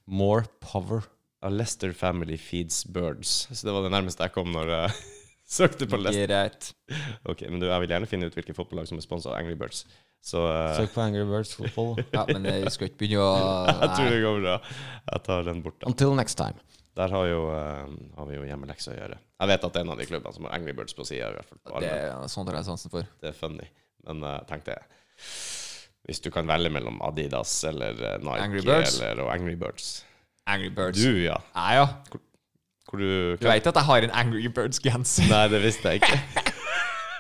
B: More power.
A: A Lester Family Feeds Birds. Så det var det nærmeste jeg kom når jeg søkte på Lester.
C: Greit.
A: Ok, men du, jeg vil gjerne finne ut hvilke fotballag som er sponsa av Angry Birds. Så eh,
B: Søk på Angry Birds Football.
C: Ja, men jeg skal ikke begynne å
A: jeg tror
C: Nei.
A: det går bra. Jeg tar den bort, da.
B: Until next time.
A: Der har, jo, eh, har vi jo hjemmelekser å gjøre. Jeg vet at det er en av de klubbene som har Angry Birds på sida, i hvert fall. På
C: Det
A: armen.
C: er sånt har jeg sansen for.
A: Det er funny. Men eh, tenk det. Hvis du kan velge mellom Adidas eller eh, Nike
C: Angry Birds?
A: Eller, og Angry Birds.
C: Angry Birds.
A: Du, ja.
C: Nei, ja.
A: Hvor du
C: Du veit at jeg har en Angry Birds-genser?
A: Nei, det visste jeg ikke.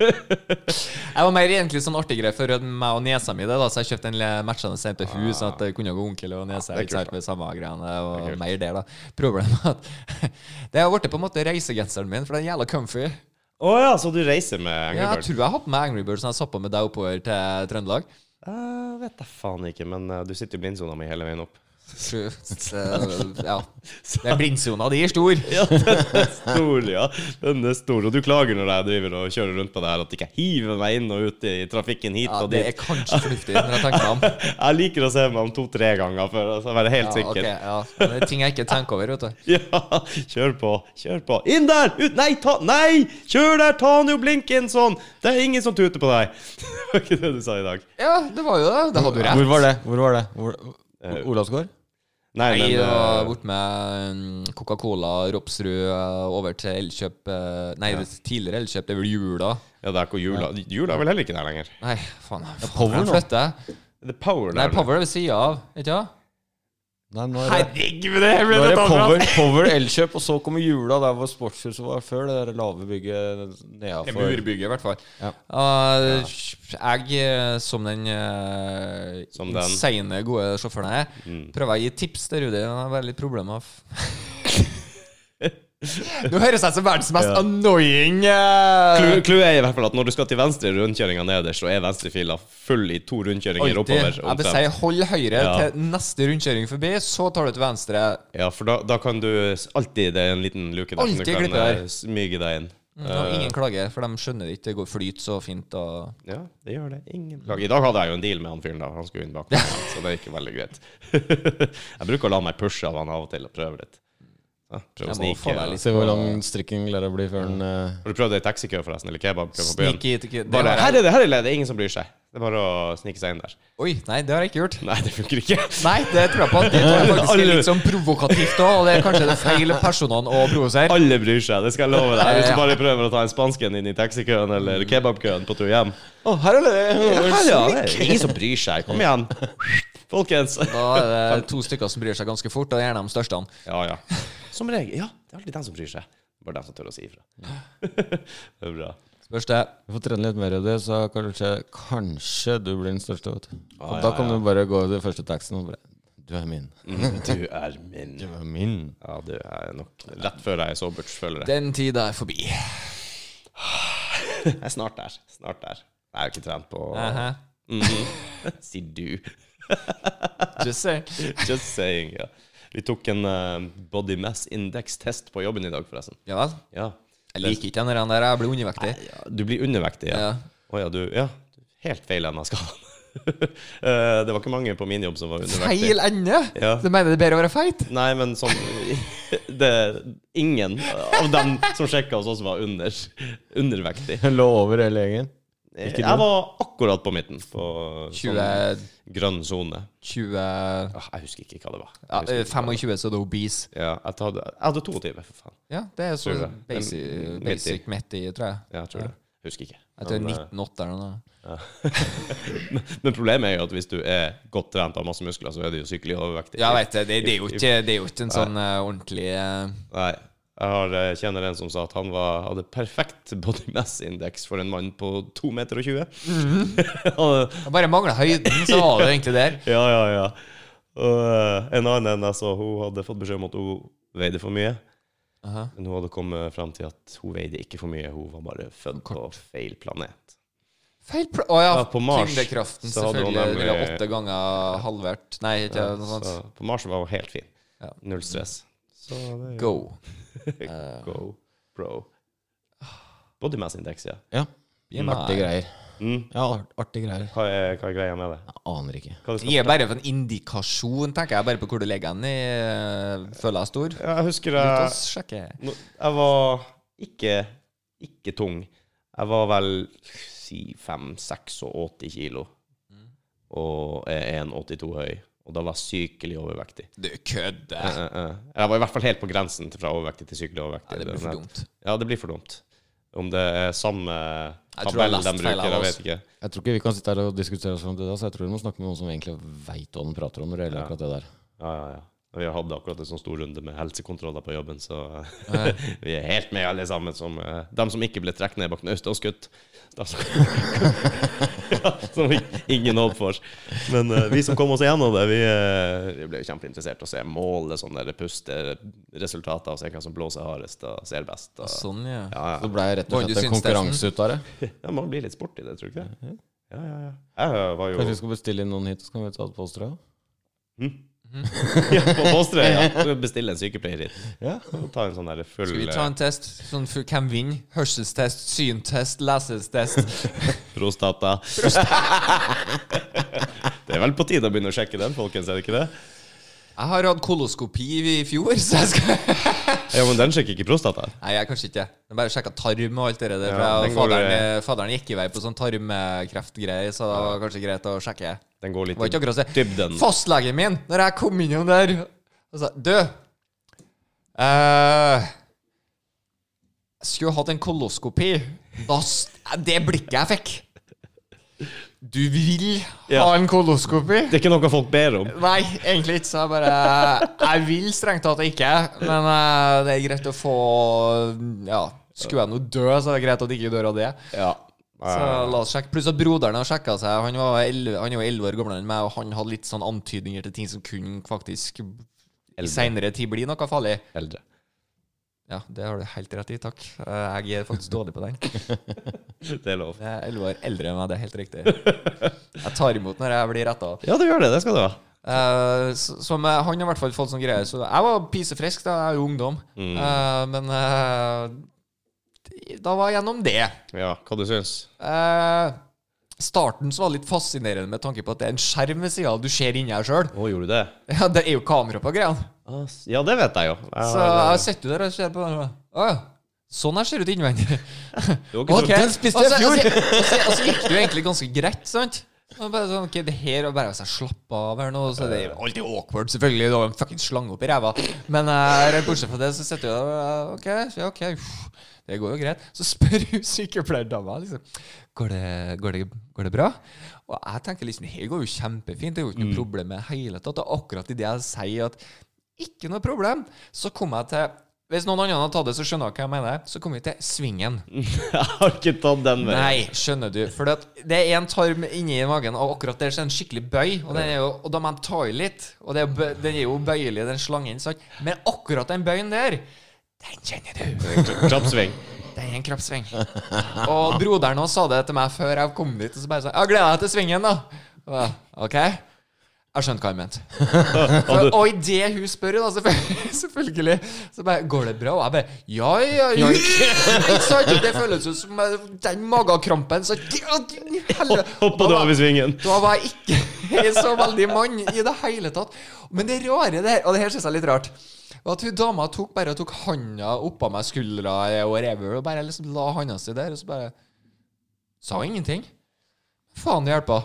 C: Jeg var mer egentlig sånn artig greie for meg og niesa mi, det da, så jeg kjøpte en le- matchende sent til hus, sånn at det kunne gå onkel og niese
A: Ah. Ja, det er
C: litt
A: kult,
C: sært med samme greiene, og
A: Det er kult.
C: mer der, da. Problemet er at det har blitt på en måte reisegenseren min, for den er jævla comfy.
A: Å ja, så du reiser med Angry
C: Ja, jeg
A: Birds?
C: tror jeg har på meg Angry Birds når jeg satt på med deg oppover til Trøndelag.
A: Eh, vet jeg faen ikke, men eh, du sitter i blindsona mi hele veien opp.
C: Så, så, ja. Den blindsona di er stor.
A: Ja, den er stor, ja. Den er stor. Og du klager når jeg driver og kjører rundt på det her, at ikke jeg hiver meg inn og ut i trafikken hit
C: Ja,
A: og
C: det
A: dit.
C: er kanskje fornuftig, når jeg tenker meg om.
A: Jeg liker å se meg om to-tre ganger for å være helt
C: Ja, ok,
A: sikker.
C: ja. Det er ting jeg ikke tenker over, vet du.
A: Ja, kjør på, kjør på. Inn der! Ut! Nei, ta Nei! Kjør der! Ta nå blinken sånn! Det er ingen som tuter på deg. Det var ikke det du sa i dag.
C: Ja, det var jo det. Det hadde du rett.
B: Hvor var det? Eh. Hvor var det? Hvor, Olavsgård?
A: Nei,
C: Nei,
A: men
C: det var
A: eh,
C: bort med mm, Coca-Cola, Ropsrud, eh, over til Elkjøp eh, Nei, det er tidligere Elkjøp, det er vel jula.
A: Ja, det er ikke jula. Jula er vel heller ikke der lenger.
C: Nei, faen. faen
B: Power
C: jeg
B: nå.
C: flytter.
A: Det er Power
C: Nei,
A: der.
C: Power er ved sida av, ikke sant?
B: Nei, nå er det
C: Herregud, det
B: Nå
C: ble
B: er det
C: tatt fra.
B: Power, Power Elkjøp, og så kommer jula der hvor sportshuset var før. Det der lave
C: Det
B: bygget
C: er
B: nedafor.
C: murbygget, i hvert fall.
B: Ja.
C: Eh, Jeg, eh, som den uh,
A: Som den. Mm.
C: insane gode sjåføren jeg er, prøver å gi tips til Rudi. Han har veldig problemer med Nå høres jeg ut som verdens mest annoying eh,
A: Clou- Clouet er i hvert fall at når du skal til venstre i rundkjøringa nederst, så er venstrefila full i to rundkjøringer oppover.
C: Jeg vil
A: omtrent.
C: si hold høyre
A: Ja.
C: til neste rundkjøring forbi, så tar du til venstre.
A: Ja, for da, da kan du s- alltid Det Mm, er en liten luke der som du
C: Alltid
A: kan
C: glippe der.
A: eh, smyge deg inn. Eh.
C: Og ingen klager, for de skjønner det ikke. Det går flyt så fint. Og
A: Ja, det gjør det. Ingen klage. I dag hadde jeg jo en deal med han fyren, da. Han skulle inn bak meg, så det gikk jo veldig greit. jeg bruker å la meg pushe av han av og til og prøve litt. Ja, prøve å
C: Jeg må få
A: snike.
C: meg litt.
B: Se hvor lang strikken klarer å bli før den eh,
A: Har du prøvd det i taxikø, forresten? Eller kebab på byen?
C: Sneaky it- det
A: Bare,
C: har
A: her
C: jeg-
A: er det, her er det, det er ingen som bryr seg. Det er bare å snike seg inn der.
C: Oi, nei, det har jeg ikke gjort.
A: Nei, det funker ikke.
C: Nei, det tror jeg på. Det tror jeg faktisk er
A: Alle-
C: litt sånn provokativt òg, og det er kanskje det feil personene å provosere.
A: Alle bryr seg, det skal jeg love deg. Hvis du bare prøver å ta en spansken inn i taxikøen eller kebabkøen på tur hjem.
B: Å, her er det!
A: ingen som bryr seg. Kom igjen, folkens.
C: Da er det to stykker som bryr seg ganske fort, og det er gjerne de største.
A: Ja, ja. Som regel. Ja, det er alltid den som bryr seg. Bare den som tør å si ifra. det er bra.
C: Spørs det.
B: Du får trene litt mer i det, så kanskje, kanskje du blir den største. Vet du.
A: Ja,
B: da
A: ja,
B: kan
A: ja.
B: du bare gå i den første taxien og bare Du er min.
A: Du er min.
B: Mm. Du er min.
A: Ja, du er nok rett før jeg er soberts, føler jeg.
C: Den tida er forbi.
A: Jeg er snart der. Snart der. Jeg har ikke trent på
C: Aha.
A: Mhm. Sier du.
C: Just saying.
A: Just saying. ja. Vi tok en eh, body mass index-test på jobben i dag, forresten.
C: Ja vel?
A: Ja.
C: Jeg liker ikke den der. Jeg blir undervektig.
A: ja du blir undervektig, ja.
C: Ja.
A: Å ja, du Ja, helt feil ende av skalaen. Eh, det var ikke mange på min jobb som var undervektig.
C: Feil ende?
A: Ja.
C: Du mener det er bedre å være feit?
A: Nei, men sånn det, Ingen av dem som sjekka hos oss, var under, undervektig.
B: Jeg lå over hele gjengen.
A: Jeg var akkurat på midten, på sånn
C: 20,
A: grønn sone.
C: 20
A: Åh, Jeg husker ikke hva det var.
C: ja,
A: Jeg husker ikke hva det var.
C: 25, så er det obese.
A: Ja, jeg, tar, det- jeg hadde 22, for faen.
C: Ja, det er så
A: Tror jeg.
C: basic,
A: Midt i.
C: basic midt i, tror jeg.
A: Ja, jeg tror det. Jeg Husker ikke.
C: Jeg tror
A: Men,
C: det
A: eh,
C: er 19,8 eller noe.
A: men, men problemet er jo at hvis du er godt trent av masse muskler, så er du jo sykelig overvektig.
C: Ja, jeg vet det. Det, det, er jo ikke, det er jo ikke en sånn eh, ordentlig eh,
A: Nei. Jeg har, eh, kjenner en som sa at han var, hadde perfekt body mass index for en mann på 2,20 meter. Og 20. Mhm. Han-
C: Jeg bare mangler høyden, så var det egentlig der.
A: ja, ja, ja. Og eh, en annen enn jeg så, hun hadde fått beskjed om at hun veide for mye.
C: Aha.
A: Men hun hadde kommet fram til at hun veide ikke for mye, hun var bare født på feil planet.
C: Feil pl Å ja,
A: Ja, på Mars
C: tyngdekraften,
A: så hadde hun
C: selvfølgelig. Nemlig...
A: nemlig-
C: åtte ganger halvert. Nei, ikke noe sånt.
A: Så på Mars var hun helt fin.
C: Ja.
A: Null stress. Så det er jo
C: Go.
A: go, bro. Body mass index, ja.
B: Ja.
C: Gi meg,
B: Artige greier.
A: Mm.
B: Ja, art- artige greier.
A: Hva, er, hva er greia med det?
B: Jeg aner ikke.
A: Hva er det
C: Gi meg bare for en indikasjon, tenker jeg, bare på hvor du legger den i eh, Føler jeg er stor.
A: Ja, jeg husker
C: La
A: jeg,
C: oss sjekke.
A: nå- jeg var ikke, ikke tung. Jeg var vel si 5-86 kilo. Og er 1,82 høy. Og da var jeg sykelig overvektig.
C: Du kødder!
A: Eh, eh, eh. Jeg var i hvert fall helt på grensen til fra overvektig til sykelig overvektig.
C: Ja, det blir for dumt.
A: Ja, det blir for dumt. Om det er samme
C: Jeg tror jeg
A: tabell
C: har
A: de
C: lest feil
A: bruker,
C: av
A: jeg
C: oss.
A: vet ikke.
B: Jeg tror ikke vi kan sitte her og diskutere oss fram til det, så jeg tror vi må snakke med noen som egentlig veit hva den prater om når det gjelder akkurat det der.
A: Ja, ja, ja. Vi har hatt akkurat en sånn stor runde med helsekontroller på jobben, så vi er helt med alle sammen. Som, eh, de som ikke ble trukket ned bak naustet og skutt. De som, ja, som vi- ingen holdt for. Men eh, vi som kom oss gjennom det, vi, eh, vi ble jo kjempeinteressert i å se målet, sånne der pusteresultater, og se hvem som blåser hardest og ser best. Og,
C: Sånn, ja.
A: ja,
B: Så det blei rett og
C: Oi, du
B: slett en
C: syns det er
B: konkurranse ut av det.
A: ja. ja, man blir litt sporty, det, tror du ikke det? Ja, ja, ja. Jeg var jo
B: Kanskje vi skal bestille inn noen hit, og så kan vi ta det på oss, tror jeg.
A: ja, på Påstrøy, ja. Bestille en sykepleier hit.
B: Ja.
A: Og ta en sånn der full
C: Skal vi ta en test? Sånn for hvem vinner? Hørselstest, syntest, lesestest.
A: Prostata. det er vel på tide å begynne å sjekke den, folkens, er det ikke det?
C: Jeg har hatt koloskopi i fjor, så jeg skal
A: Ja, men den sjekker ikke prostata.
C: Nei, jeg kanskje ikke. Jeg bare sjekka tarm og alt det
A: Ja,
C: der. for jeg-
A: den går-
C: faderen, eh, faderen gikk i vei på sånn tarmkreftgreier, så det var kanskje greit å sjekke.
A: Den går
C: Det var
A: litt
C: ikke
A: i
C: akkurat å si
A: dybden.
C: Fastlegen min, når jeg kom innom der og sa Du! eh, jeg skulle hatt en koloskopi. Da s- Det blikket jeg fikk Du vil
A: Ja.
C: ha en koloskopi?
A: Det er ikke noe folk ber om.
C: Nei, egentlig ikke. Så jeg bare Jeg vil strengt tatt ikke, men eh, det er greit å få Ja, skulle jeg nå dø, så er det greit at jeg ikke dør av det.
A: Ja.
C: Så la oss sjekke. Pluss at broderen har sjekka seg. Han, var 11, han er jo 11 år gamlere enn meg, og han hadde litt sånn antydninger til ting som kunne faktisk i seinere tid bli noe farlig.
A: Eldre.
C: Ja, det har du helt rett i, takk. Eh, Jeg er faktisk dårlig på den.
A: Det er lov.
C: Det er 11 år eldre enn meg, det er helt riktig. Jeg tar imot når jeg blir retta.
A: Ja, du gjør det. Det skal du ha.
C: Eh, s- som, eh, han har i hvert fall fått sånn greie. Så jeg var pisefrisk da, jeg er jo ungdom.
A: Mm.
C: Eh, men eh, da var jeg gjennom det.
A: Ja, hva du syns?
C: Eh, starten så var det litt fascinerende med tanke på at det er en skjerm ved sida av du ser inni her sjøl.
A: Å, gjorde du det?
C: Ja, det er jo kamera på greia.
A: Ah, s- Ja, det vet jeg jo. Jeg
C: Så
A: har-
C: jeg sitter jo der og ser på den. og bare, Å ja. Sånn her ser det ut innvendig.
A: Det var ikke så-
C: Ok.
B: Den spiste jeg i
C: Og så- Og
B: fjor!
C: så, og så, og så gikk det jo egentlig ganske greit, sant? Og bare sånn, ok, det her og bare altså, Slapp av her nå. Så det er jo alltid awkward, selvfølgelig. Du har en fucking slange oppi ræva. Men eh, rett bortsett fra det, så sitter du der og bare, eh, OK, ja, ok, uff, det går jo greit. Så spør hun sykepleierdama liksom går det, går, det, går det bra. Og jeg tenker liksom det her går jo kjempefint. Det er jo
B: Mm.
C: ikke noe problem med hele tatt. Og akkurat idet jeg sier at ikke noe problem, så kom jeg til Hvis noen andre hadde tatt det, så skjønner jeg hva jeg mener. Så kommer vi til svingen.
A: Jeg har ikke tatt den med.
C: Nei, skjønner du. For det, at det er en tarm inni magen, og akkurat der så er det en skikkelig bøy. Og, den er jo, og da må de ta i litt. Og det er, jo bø- den er jo bøyelig, den slangen. Sant? Men akkurat den bøyen der, den kjenner du.
A: Klappsving.
C: Det er en kroppssving. Og broderen hans sa det til meg før jeg kom dit. Og så bare sa jeg gleder deg til svingen, da. Og jeg, ok? Jeg skjønte hva han mente. For, og idet hun spør, da, selvfølgelig, selvfølgelig så bare Går det bra? Og jeg bare Ja, ja, ja. Ikke sant? Det føles jo som eh, den magekrampen så Helvete.
A: Hoppa du av i svingen?
C: Da var jeg ikke så veldig mann i det hele tatt. Men det rare der, og det her synes jeg er litt rart, var at hun dama tok bare tok handa oppå meg skuldra og whatever, og bare liksom la handa si der, og så bare Sa hun ingenting. Faen, det hjelpa.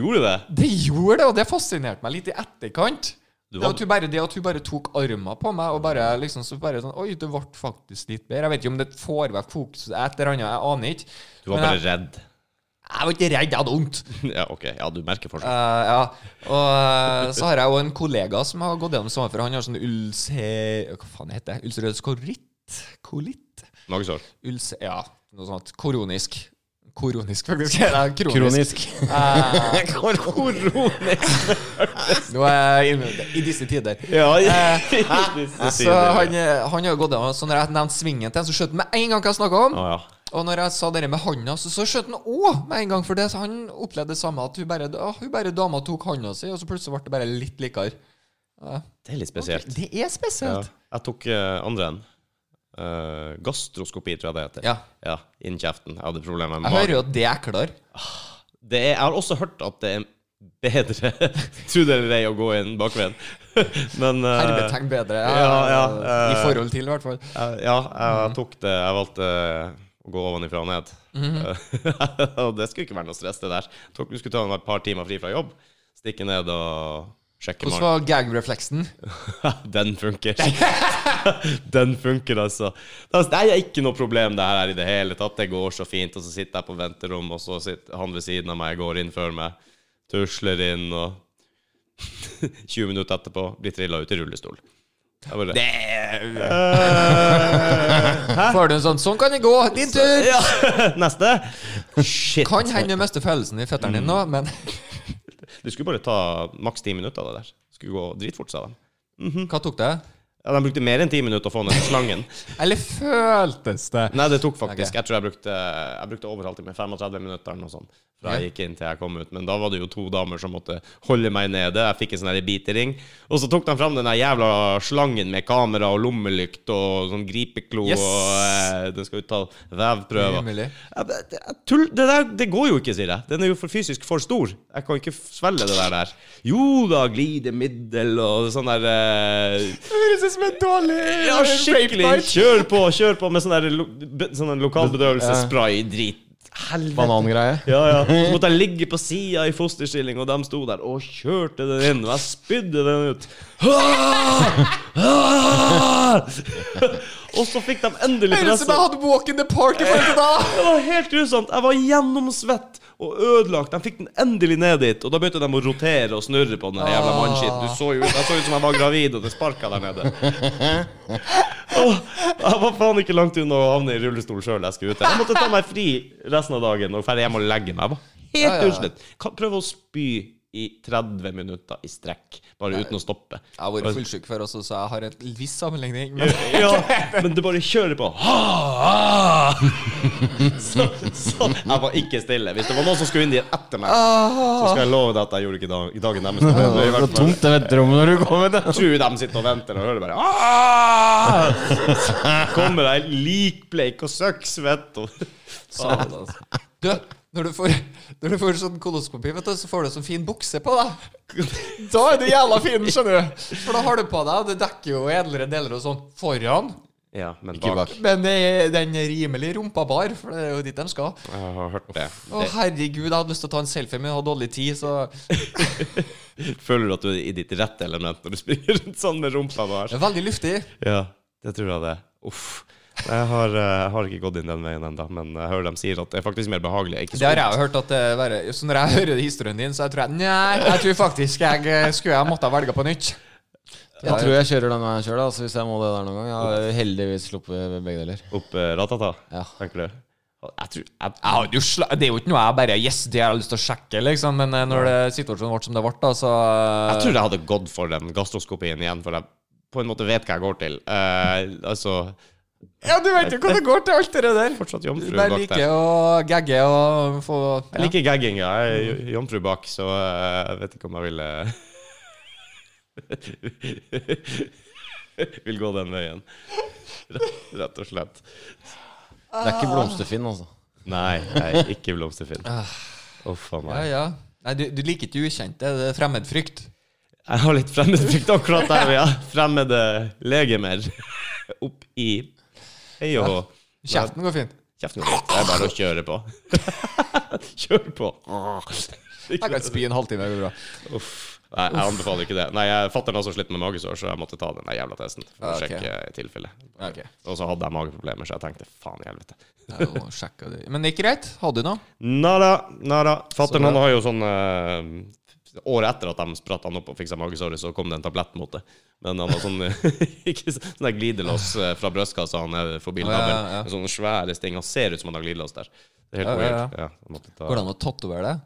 A: Gjorde du det?
C: Det gjorde det, og det fascinerte meg litt i etterkant.
A: Du
C: Det
A: var-
C: at hun bare, det at hun bare tok armen på meg, og bare liksom så bare sånn Oi, det ble faktisk litt bedre. Jeg vet ikke om det får vekk fokuset et eller annet, jeg aner ikke.
A: Du var
C: Men
A: bare
C: jeg,
A: redd.
C: jeg var ikke redd, jeg hadde vondt.
A: Ja, ok. Ja, du merker
C: Eh,
A: forskjell.
C: ja. Og eh, så har jeg jo en kollega som har gått gjennom det samme, for han har sånn ulse... Hva faen heter det? Ulcerøs koritt? Kolitt?
A: Magesår.
C: Ulse... Ja, noe sånt. Koronisk. Koronisk, faktisk. Ja, kronisk.
B: Kronisk.
C: Eh,
A: Koronisk.
C: nå er jeg inne i disse tider.
A: Ja,
C: Så han, eh, han har jo gått gjennom Så når jeg nevnte svingen til ham, så skjønte han med en gang hva jeg snakka om.
A: Å ja.
C: Og når jeg sa det med handa, så, så skjønte han òg med en gang. For det, så han opplevde det samme, at hun bare, å, hun bare dama tok handa si, og så plutselig ble det bare litt likere.
A: Det er litt spesielt.
C: Det er
A: Ja.
C: spesielt.
A: Jeg tok eh, andre en. Eh, gastroskopi, tror jeg det heter.
C: Ja.
A: ja Innen kjeften. Jeg hadde problemer med
C: Jeg hører
A: magen.
C: jo at det er klart.
A: Det er, jeg har også hørt at det er bedre Tro det eller ei å gå inn bakveien. Men eh,
C: Hermetegn bedre.
A: ja, ja,
C: I
A: eh,
C: forhold til, i hvert fall.
A: Eh, ja, jeg tok det. Jeg valgte eh, å gå ovenifra og ned.
C: Mhm.
A: Og det skulle ikke være noe stress, det der. Tok, du skulle ta et par timer fri fra jobb, stikke ned og sjekke
C: Hvordan
A: magen.
C: var gag-refleksen?
A: Den funker. Den funker, altså. Det er- det er ikke noe problem, det her i det hele tatt. Det går så fint, og så sitter jeg på venterommet, og så sitter han ved siden av meg, går inn før meg, tusler inn, og 20 minutter etterpå blir trilla ut i rullestol. Jeg bare,
C: Det
A: Eh,
C: Får du en sånn 'Sånn kan det gå! Din tur!'
A: Ja. Eh, Neste. Shit.
C: Kan hende du mister følelsen i føttene dine nå,
A: Mm.
C: men
A: Du skulle bare ta maks ti minutter av det der. Det Skulle gå dritfort, sa de.
C: hva tok det?
A: Ja, de brukte mer enn ti minutter å få ned slangen.
C: Eller føltes det?
A: Nei, det tok faktisk Jeg tror jeg brukte, jeg brukte over halvtime, 35 minutter eller noe sånt, fra jeg gikk inn til jeg kom ut. Men da var det jo to damer som måtte holde meg nede. Jeg fikk en sånn her bitering. Og så tok de fram den der jævla slangen med kamera og lommelykt og sånn gripeklo
C: Yes.
A: og eh, Den skal jo ta vevprøver.
C: Rimelig.
A: Ja, men det- jeg tull, det der det går jo ikke, sier jeg. Den er jo for fysisk for stor. Jeg kan ikke svelge det der. der. Jo da, glidemiddel og sånn der eh,
C: Det høres ut som en dårlig eh,
A: ja, skikkelig. Kjør på, kjør på med sånn der lo be- sånn der lokalbedøvelsesspray. Drit. Helvete.
B: Banangreie.
A: Ja, ja. Så måtte jeg ligge på sida i fosterstilling, og de sto der og kjørte den inn. Og jeg spydde den ut. Ah! og så fikk de endelig
C: Høres ut
A: pressa.
C: som jeg hadde walk in the park i forhold til da!
A: Det var helt grusomt. Jeg var gjennomsvett og ødelagt. De fikk den endelig ned dit, og da begynte de å rotere og snurre på den der jævla mannskitten. Du så jo Jeg så ut som jeg var gravid, og det sparka der nede. Åh, Jeg var faen ikke langt unna å havne i rullestol sjøl. Jeg skulle ut. Jeg måtte ta meg fri resten av dagen og dra hjem og legge meg. Jeg var
C: Ja, ja.
A: helt utslett. Kan prøve å spy i 30 minutter i strekk, bare uten å stoppe.
C: Jeg har vært fullsjuk før også, så jeg har en viss sammenligning. Men
A: Ja, men du bare kjører på. Ha, ha. Så, så jeg var ikke stille. Hvis det var noen som skulle inn dit etter meg, så
C: Ah.
A: skal jeg love deg at jeg gjorde ikke dag, dagen deres.
B: Det
A: Det er i
B: var
A: hvert fall-
B: tomt det venterommet når du kom inn.
A: Jeg tror de sitter og venter og hører bare «Ah!» Så Kommer jeg likbleik og søkksvett og
C: Satan, altså. Du, når du får, når du får sånn koloskopi, vet du, så får du sånn fin bukse på deg. Da er du jævla fin, skjønner du. For da har du på deg, og det dekker jo edlere deler og sånn foran.
A: Ja, men
B: Ikke
A: bak.
B: bak.
C: Men det er, den er rimelig rumpabar, for det er jo dit den skal.
A: Jeg har hørt det.
C: Å, herregud, jeg hadde lyst til å ta en selfie, men jeg har dårlig tid, så
A: det. Føler du at du er i ditt rette element når du springer rundt sånn med rumpa
C: Det
A: bare?
C: er veldig luftig.
A: Ja, det tror jeg det. Uff. Jeg har, eh, jeg har ikke gått inn den veien ennå, men jeg hører de sier at det er faktisk mer behagelig. Ikke
C: Det har jeg jo hørt at det er verre. Så når eh, jeg hører historien din, så jeg tror jeg Nei, jeg tror faktisk jeg eh, skulle jeg måtte ha velga på nytt.
B: Jeg tror jeg kjører den veien sjøl, altså, hvis jeg må det der noen gang. Jeg har heldigvis sluppet begge deler.
A: Opp eh, ratata,
B: Ja.
A: tenker du? Jeg tror jeg,
C: Jeg hadde jo sla det er jo ikke noe jeg bare Yes, det har jeg lyst til å sjekke, liksom. Men eh, når det, situasjonen ble som det ble, da, så eh,
A: Jeg tror jeg hadde gått for den gastroskopien igjen, for jeg på en måte vet hva jeg går til. Eh, altså
C: Ja, du vet jo hva det går til, alt det der.
A: Fortsatt jomfru
C: Bare
A: bak
C: like
A: der.
C: å gagge og få
A: Jeg liker gagging. ja. Jeg er jo- jomfru bak, så eh, jeg vet ikke om jeg ville Vil gå den veien. Rett- Rett og slett.
B: Det er ikke blomsterfinn, altså.
A: Nei, jeg er ikke blomsterfinn. Uff a
C: Ah. Ja,
A: meg.
C: ja. Nei, du, du liker ikke ukjente. Det er fremmedfrykt.
A: Jeg har litt fremmedfrykt akkurat der, ja. Fremmede legemer opp i hei og hå.
C: Kjeften går fint.
A: Kjeften går litt. Det er bare å kjøre på. Kjør på.
C: Jeg kan spy en halvtime, det går bra.
A: Uff. Nei, jeg anbefaler ikke det. Nei, jeg Fatter'n har også slitt med magesår, så jeg måtte ta den der jævla testen. For å
C: Ah, ok.
A: sjekke i tilfelle.
C: Ok.
A: Og så hadde jeg mageproblemer, så jeg tenkte faen i helvete.
C: Jeg må sjekke det. Men det gikk greit. Hadde du noe?
A: Nada, nada.
C: Så
A: Fatter'n
C: bra.
A: han har jo sånn eh, Året etter at de spratt han opp og fiksa magesåret, så kom det en tablett mot det. Men han har sånn ikke så- sånn der glidelås eh, fra brystkassa han er forbi
C: Ja, ja,
A: nabelen.
C: ja.
A: Med Sånne svære sting. Han ser ut som han har glidelås der. Det er helt
C: Ja, ja, ja.
A: weird. Ja, han måtte ta-
C: Går det an å tatovere det?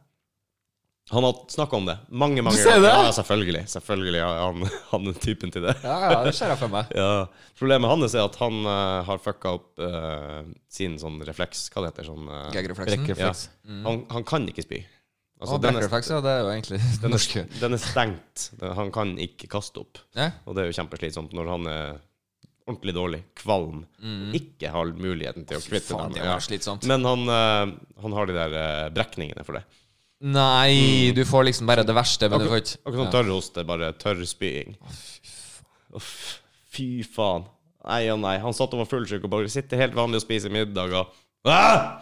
A: Han har snakka om det mange mange
C: Ser du det?
A: Ja, selvfølgelig. Selvfølgelig er han, han er typen til det.
C: Ja, ja, det ser jeg for meg.
A: Ja. Problemet hans er at han eh, har fucka opp eh, sin sånn refleks Hva det heter sånn eh,
C: Gaggerefleksen.
A: ja.
B: Brekkerefleks.
A: han, han kan ikke spy. Altså,
C: Mm. Å,
A: den, er,
C: Brekkerefleks, ja. Det er jo egentlig det
A: den,
C: norske.
A: er, den er stengt. Den- Han kan ikke kaste opp.
C: Ja.
A: Og det er jo kjempeslitsomt når han er ordentlig dårlig, kvalm, ikke har muligheten til å kvitte
C: Mm. Faen,
A: den.
C: det
A: Ja.
C: var slitsomt.
A: Men han, eh, han har de der eh, brekningene for det. Mm.
C: Nei, du får liksom bare det verste, men du får ikke
A: Akkurat som tørrhoste, bare tørrspying. Uff, fy faen. Nei og nei. Han satt og var fullsjuk og bare sitter helt vanlig og spiser middag og ah!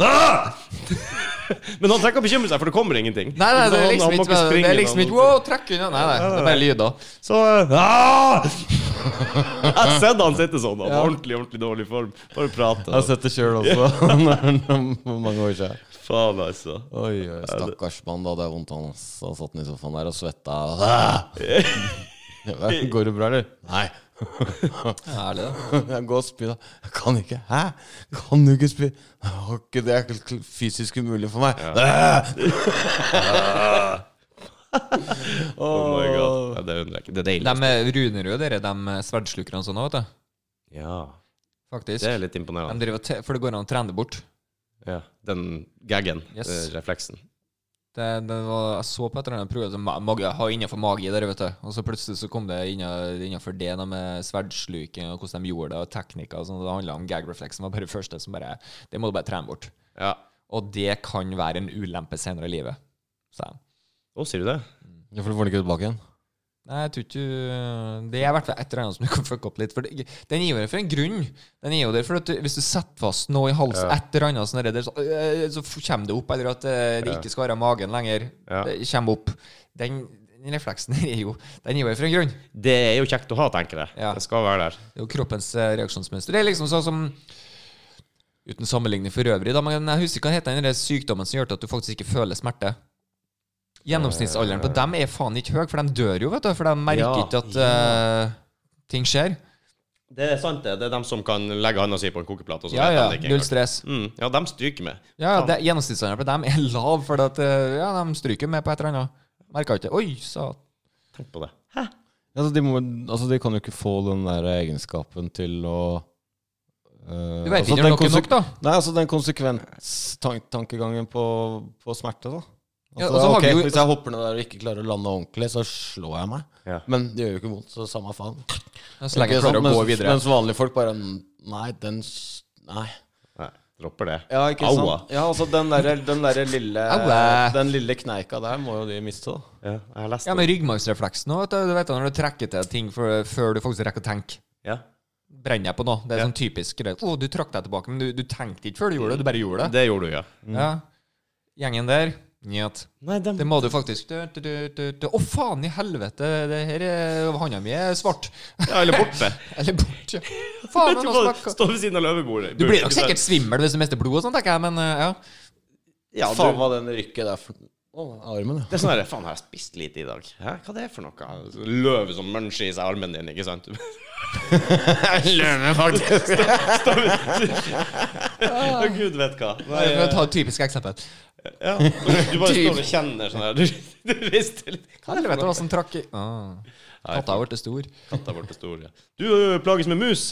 A: ah! Men han trenger ikke å bekymre seg, for det kommer ingenting.
C: Nei, nei, det er
A: Han-
C: liksom
A: han må
C: ikke Det
A: springe
C: er liksom
A: noen-
C: ikke Wow, trekk unna! Nei, nei, det er bare lyder.
A: Så ah! Jeg har sett han sitte sånn. Han var ordentlig, ordentlig dårlig form. Bare prate.
B: Jeg har sett det sjøl også. Hvor mange år siden?
A: faen, altså.
B: Oi, oi, stakkars mann, da hadde jeg vondt av han. ass. Da satt han i sofaen der og Ah! svetta. Ja, Går det bra, eller? Nei.
C: Ja, Ærlig, da.
B: Jeg går og spyr, da. Jeg kan ikke. Hæ? Kan du ikke spy? Jeg har ikke det. Det er ikke fysisk umulig for meg.
A: Oh my god. Ja, det undrer jeg ikke. Det er deilig.
C: De Runerød, dere, de sverdslukerne og sånn òg, vet du.
A: Ja,
C: Faktisk.
A: det er litt
C: De
A: imponerende.
C: driver og te- For det går an å trene det bort.
A: Ja, den gaggen,
C: Yes.
A: eh, refleksen.
C: Det, det var, jeg så på et eller annet prøve som ma- magi, jeg har innenfor magi der, vet du. Og så plutselig så kom det inna- innenfor det da med sverdsluking og hvordan de gjorde det, og teknikker og sånn. og Det handla om gag reflexen. var bare det første som bare Det må du bare trene bort.
A: Ja.
C: Og det kan være en ulempe senere i livet, sa de.
A: Å, sier du det?
B: Ja, For du får den ikke tilbake igjen?
C: Nei, jeg tror ikke du- Det er i hvert fall et eller annet som du kan fucke opp litt. For det, den gir jo det for en grunn. Den gir jo det for at du, Hvis du setter fast noe i halsen, et eller annet sånn der, så, øh, så f- kommer det opp. Eller at øh, det ikke skal være magen lenger.
A: Ja.
C: Det kommer opp. Den, den refleksen der er jo Den gir jo det for en grunn.
A: Det er jo kjekt å ha, tenker jeg.
C: Ja.
A: Det skal være der.
C: Det er jo kroppens eh, reaksjonsmønster. Det er liksom sånn som Uten sammenligning for øvrig, da, men jeg husker hva heter den der sykdommen som gjør til at du faktisk ikke føler smerte. Gjennomsnittsalderen på dem er faen ikke høy, for de dør jo, vet du. For de merker
A: Ja,
C: ikke at eh, ting skjer.
A: Det er sant, det. Det er dem som kan legge handa si på en kokeplate. Og så
C: Ja,
A: vet de
C: ja.
A: det ikke
C: Null
A: engang.
C: stress.
A: Mm, ja, dem stryker med.
C: Ja, det, Gjennomsnittsalderen på dem er lav, for at, eh, ja, de stryker med på et eller annet. Merker ikke Oi, sa
A: Tenk på det.
B: Ja, så de, må, altså, de kan jo ikke få den der egenskapen til å eh,
C: Du vet
B: altså,
C: ikke
B: den
C: når dere er
B: konse-
C: nok, da.
B: Nei, altså den konsekvenstankegangen på, på smerte, da.
C: Ja, og
B: Altså,
C: så har
B: ok,
C: vi jo-
B: Hvis jeg hopper ned der og ikke klarer å lande ordentlig, så slår jeg meg.
A: Ja.
B: Men det gjør jo ikke vondt, så samme faen.
C: Så lenge
B: Ikke
C: jeg klarer
B: sant?
C: å
B: mens,
C: gå videre.
B: mens vanlige folk bare Nei, den s- Nei.
A: Nei, dropper det.
B: Ja, ikke
A: Aua.
B: sant? Ja, altså den derre den derre lille
C: Aua.
B: Den lille kneika der må jo de miste, da.
A: Ja, jeg har lest
C: Ja,
A: det.
C: men ryggmargsrefleksen òg, vet du. Du vet da, når du trekker til ting for, før du faktisk rekker å tenke.
A: Ja.
C: brenner jeg på nå. Det er sånn typisk greie. Å, du trakk deg tilbake, men du, du tenkte ikke før du gjorde det. Du bare gjorde det.
A: Det gjorde du, ja.
B: Mm.
C: Ja. Gjengen der Njet.
A: Nei, dem
C: Det må du faktisk Du, du, du, du, du. Å, faen i helvete! Det her er Handa mi er svart.
A: Ja, eller borte.
C: Eller bort, ja. Faen,
A: Du
C: han har
A: må
C: snakka
A: stå ved siden av løvebordet.
C: Du blir nok sikkert svimmel hvis du mister blod og sånn, tenker jeg, men eh, ja.
A: ja, du,
B: Faen hva den rykket der for Å, armen, ja.
A: Det er sånn her, faen, har jeg spist lite i dag? Hæ, hva det er for noe? Løve som muncher i seg armen din, ikke sant? Løve, faktisk. Å, Gud vet hva. Nei,
C: For å ta et typisk eksempel.
A: ja. Du bare står og kjenner sånn her. Du, du rister litt. Hva er det for
C: Helvete,
A: noe?
C: hva som trakk i ah. Katta ble stor.
A: Katta ble stor, ja. Du ø, plages med mus.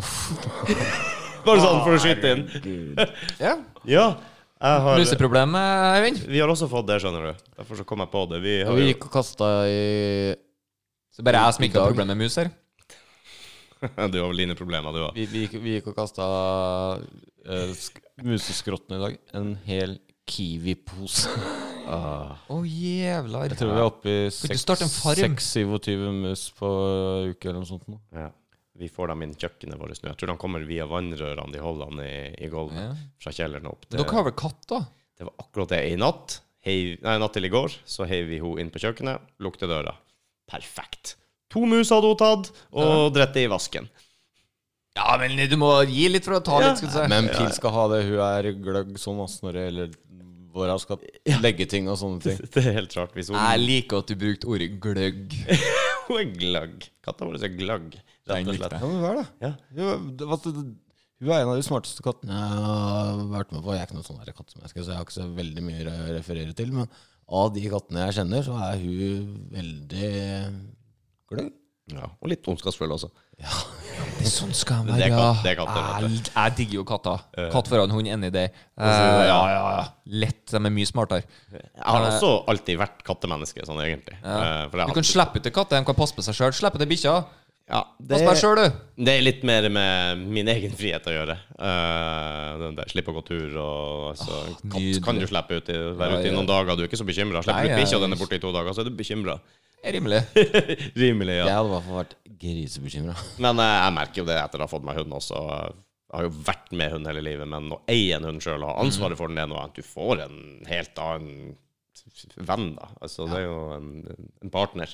A: Bare sånn for å skyte inn.
C: Ja.
A: Ja, jeg har
C: Luseproblem, Eivind.
A: Vi har også fått det, skjønner du. Derfor så kom jeg på det. Vi har
B: Vi
A: jo
B: gikk og kasta i
C: Så bare jeg som ikke har
B: Dag.
C: problem med mus her.
A: Du har vel dine problemer, du òg.
B: Vi, vi, gikk, vi gikk og kasta eh, sk museskrotten i dag. En hel Kiwi-pose.
C: Å, jævlar.
B: Jeg tror vi er oppe i
C: du starte en farm?
B: 26-27 mus på uke eller noe sånt. nå.
A: Ja. Vi får dem inn kjøkkenet vårt nå. Jeg tror de kommer via vannrørene de holder han i, i gulvet.
C: Ja.
A: Fra kjelleren opp. Det,
C: Dere har vel katt, da?
A: det var akkurat det. I natt, hei, nei, natt til i går, så heiv vi henne inn på kjøkkenet, lukte døra. Perfekt. To mus hadde hun tatt, og drett det i vasken.
C: Ja, men du må gi litt for å ta litt, skal du si.
B: Men Pil skal ha det. Hun er gløgg sånn ass, når det gjelder hvor hun skal legge ting og sånne ting.
A: Det er helt rart. Hvis hun,
C: Jeg liker at du brukte ordet gløgg.
A: hun er glagg. Katta vår er glagg.
C: Den
A: Rett og
C: likte
A: slett.
B: Ja, men hva er det?
A: Ja.
B: Hun, er- det var- det- hun er en av de smarteste kattene jeg har vært med på. Jeg er ikke noen sånn der kattemenneske, så jeg har ikke så veldig mye å referere til. Men av de kattene jeg kjenner, så er hun veldig gløgg.
A: Ja. Og litt ondskapsfull også.
C: Det er sånn skal
A: Det er kat- det er katter,
C: Jeg, jeg digger jo katter. Katt foran hund, enig i det. Eh,
A: det,
C: ja,
A: ja.
C: ja, ja. Lett. De er mye smartere.
A: Jeg har også alltid vært kattemenneske, sånn egentlig. Eh, For jeg
C: Du
A: har
C: kan slippe ut til katter, de kan passe på seg sjøl. Slipp ut til bikkja.
A: ja,
C: Pass på deg sjøl, du.
A: Det er litt mer med min egen frihet å gjøre. Eh, den der, Slippe å gå tur og altså, katt
C: nydelig.
A: kan du slippe ut i, være
C: Ja,
A: ute i
C: ja.
A: noen dager. Du er ikke så bekymra.
C: Nei,
A: Slipper du
C: jeg-
A: bikkja, og den er borte i to dager, så er du bekymra.
C: Det er Rimelig.
A: Rimelig, ja.
B: Jeg hadde i hvert fall vært grisebekymra.
A: Men eh, jeg merker jo det etter å ha fått meg hund også. Jeg har jo vært med hund hele livet, men å eie en hund sjøl og ha
C: Mm.
A: ansvaret for den, er noe annet. Du får en helt annen venn, da. Altså, det er jo en, en partner.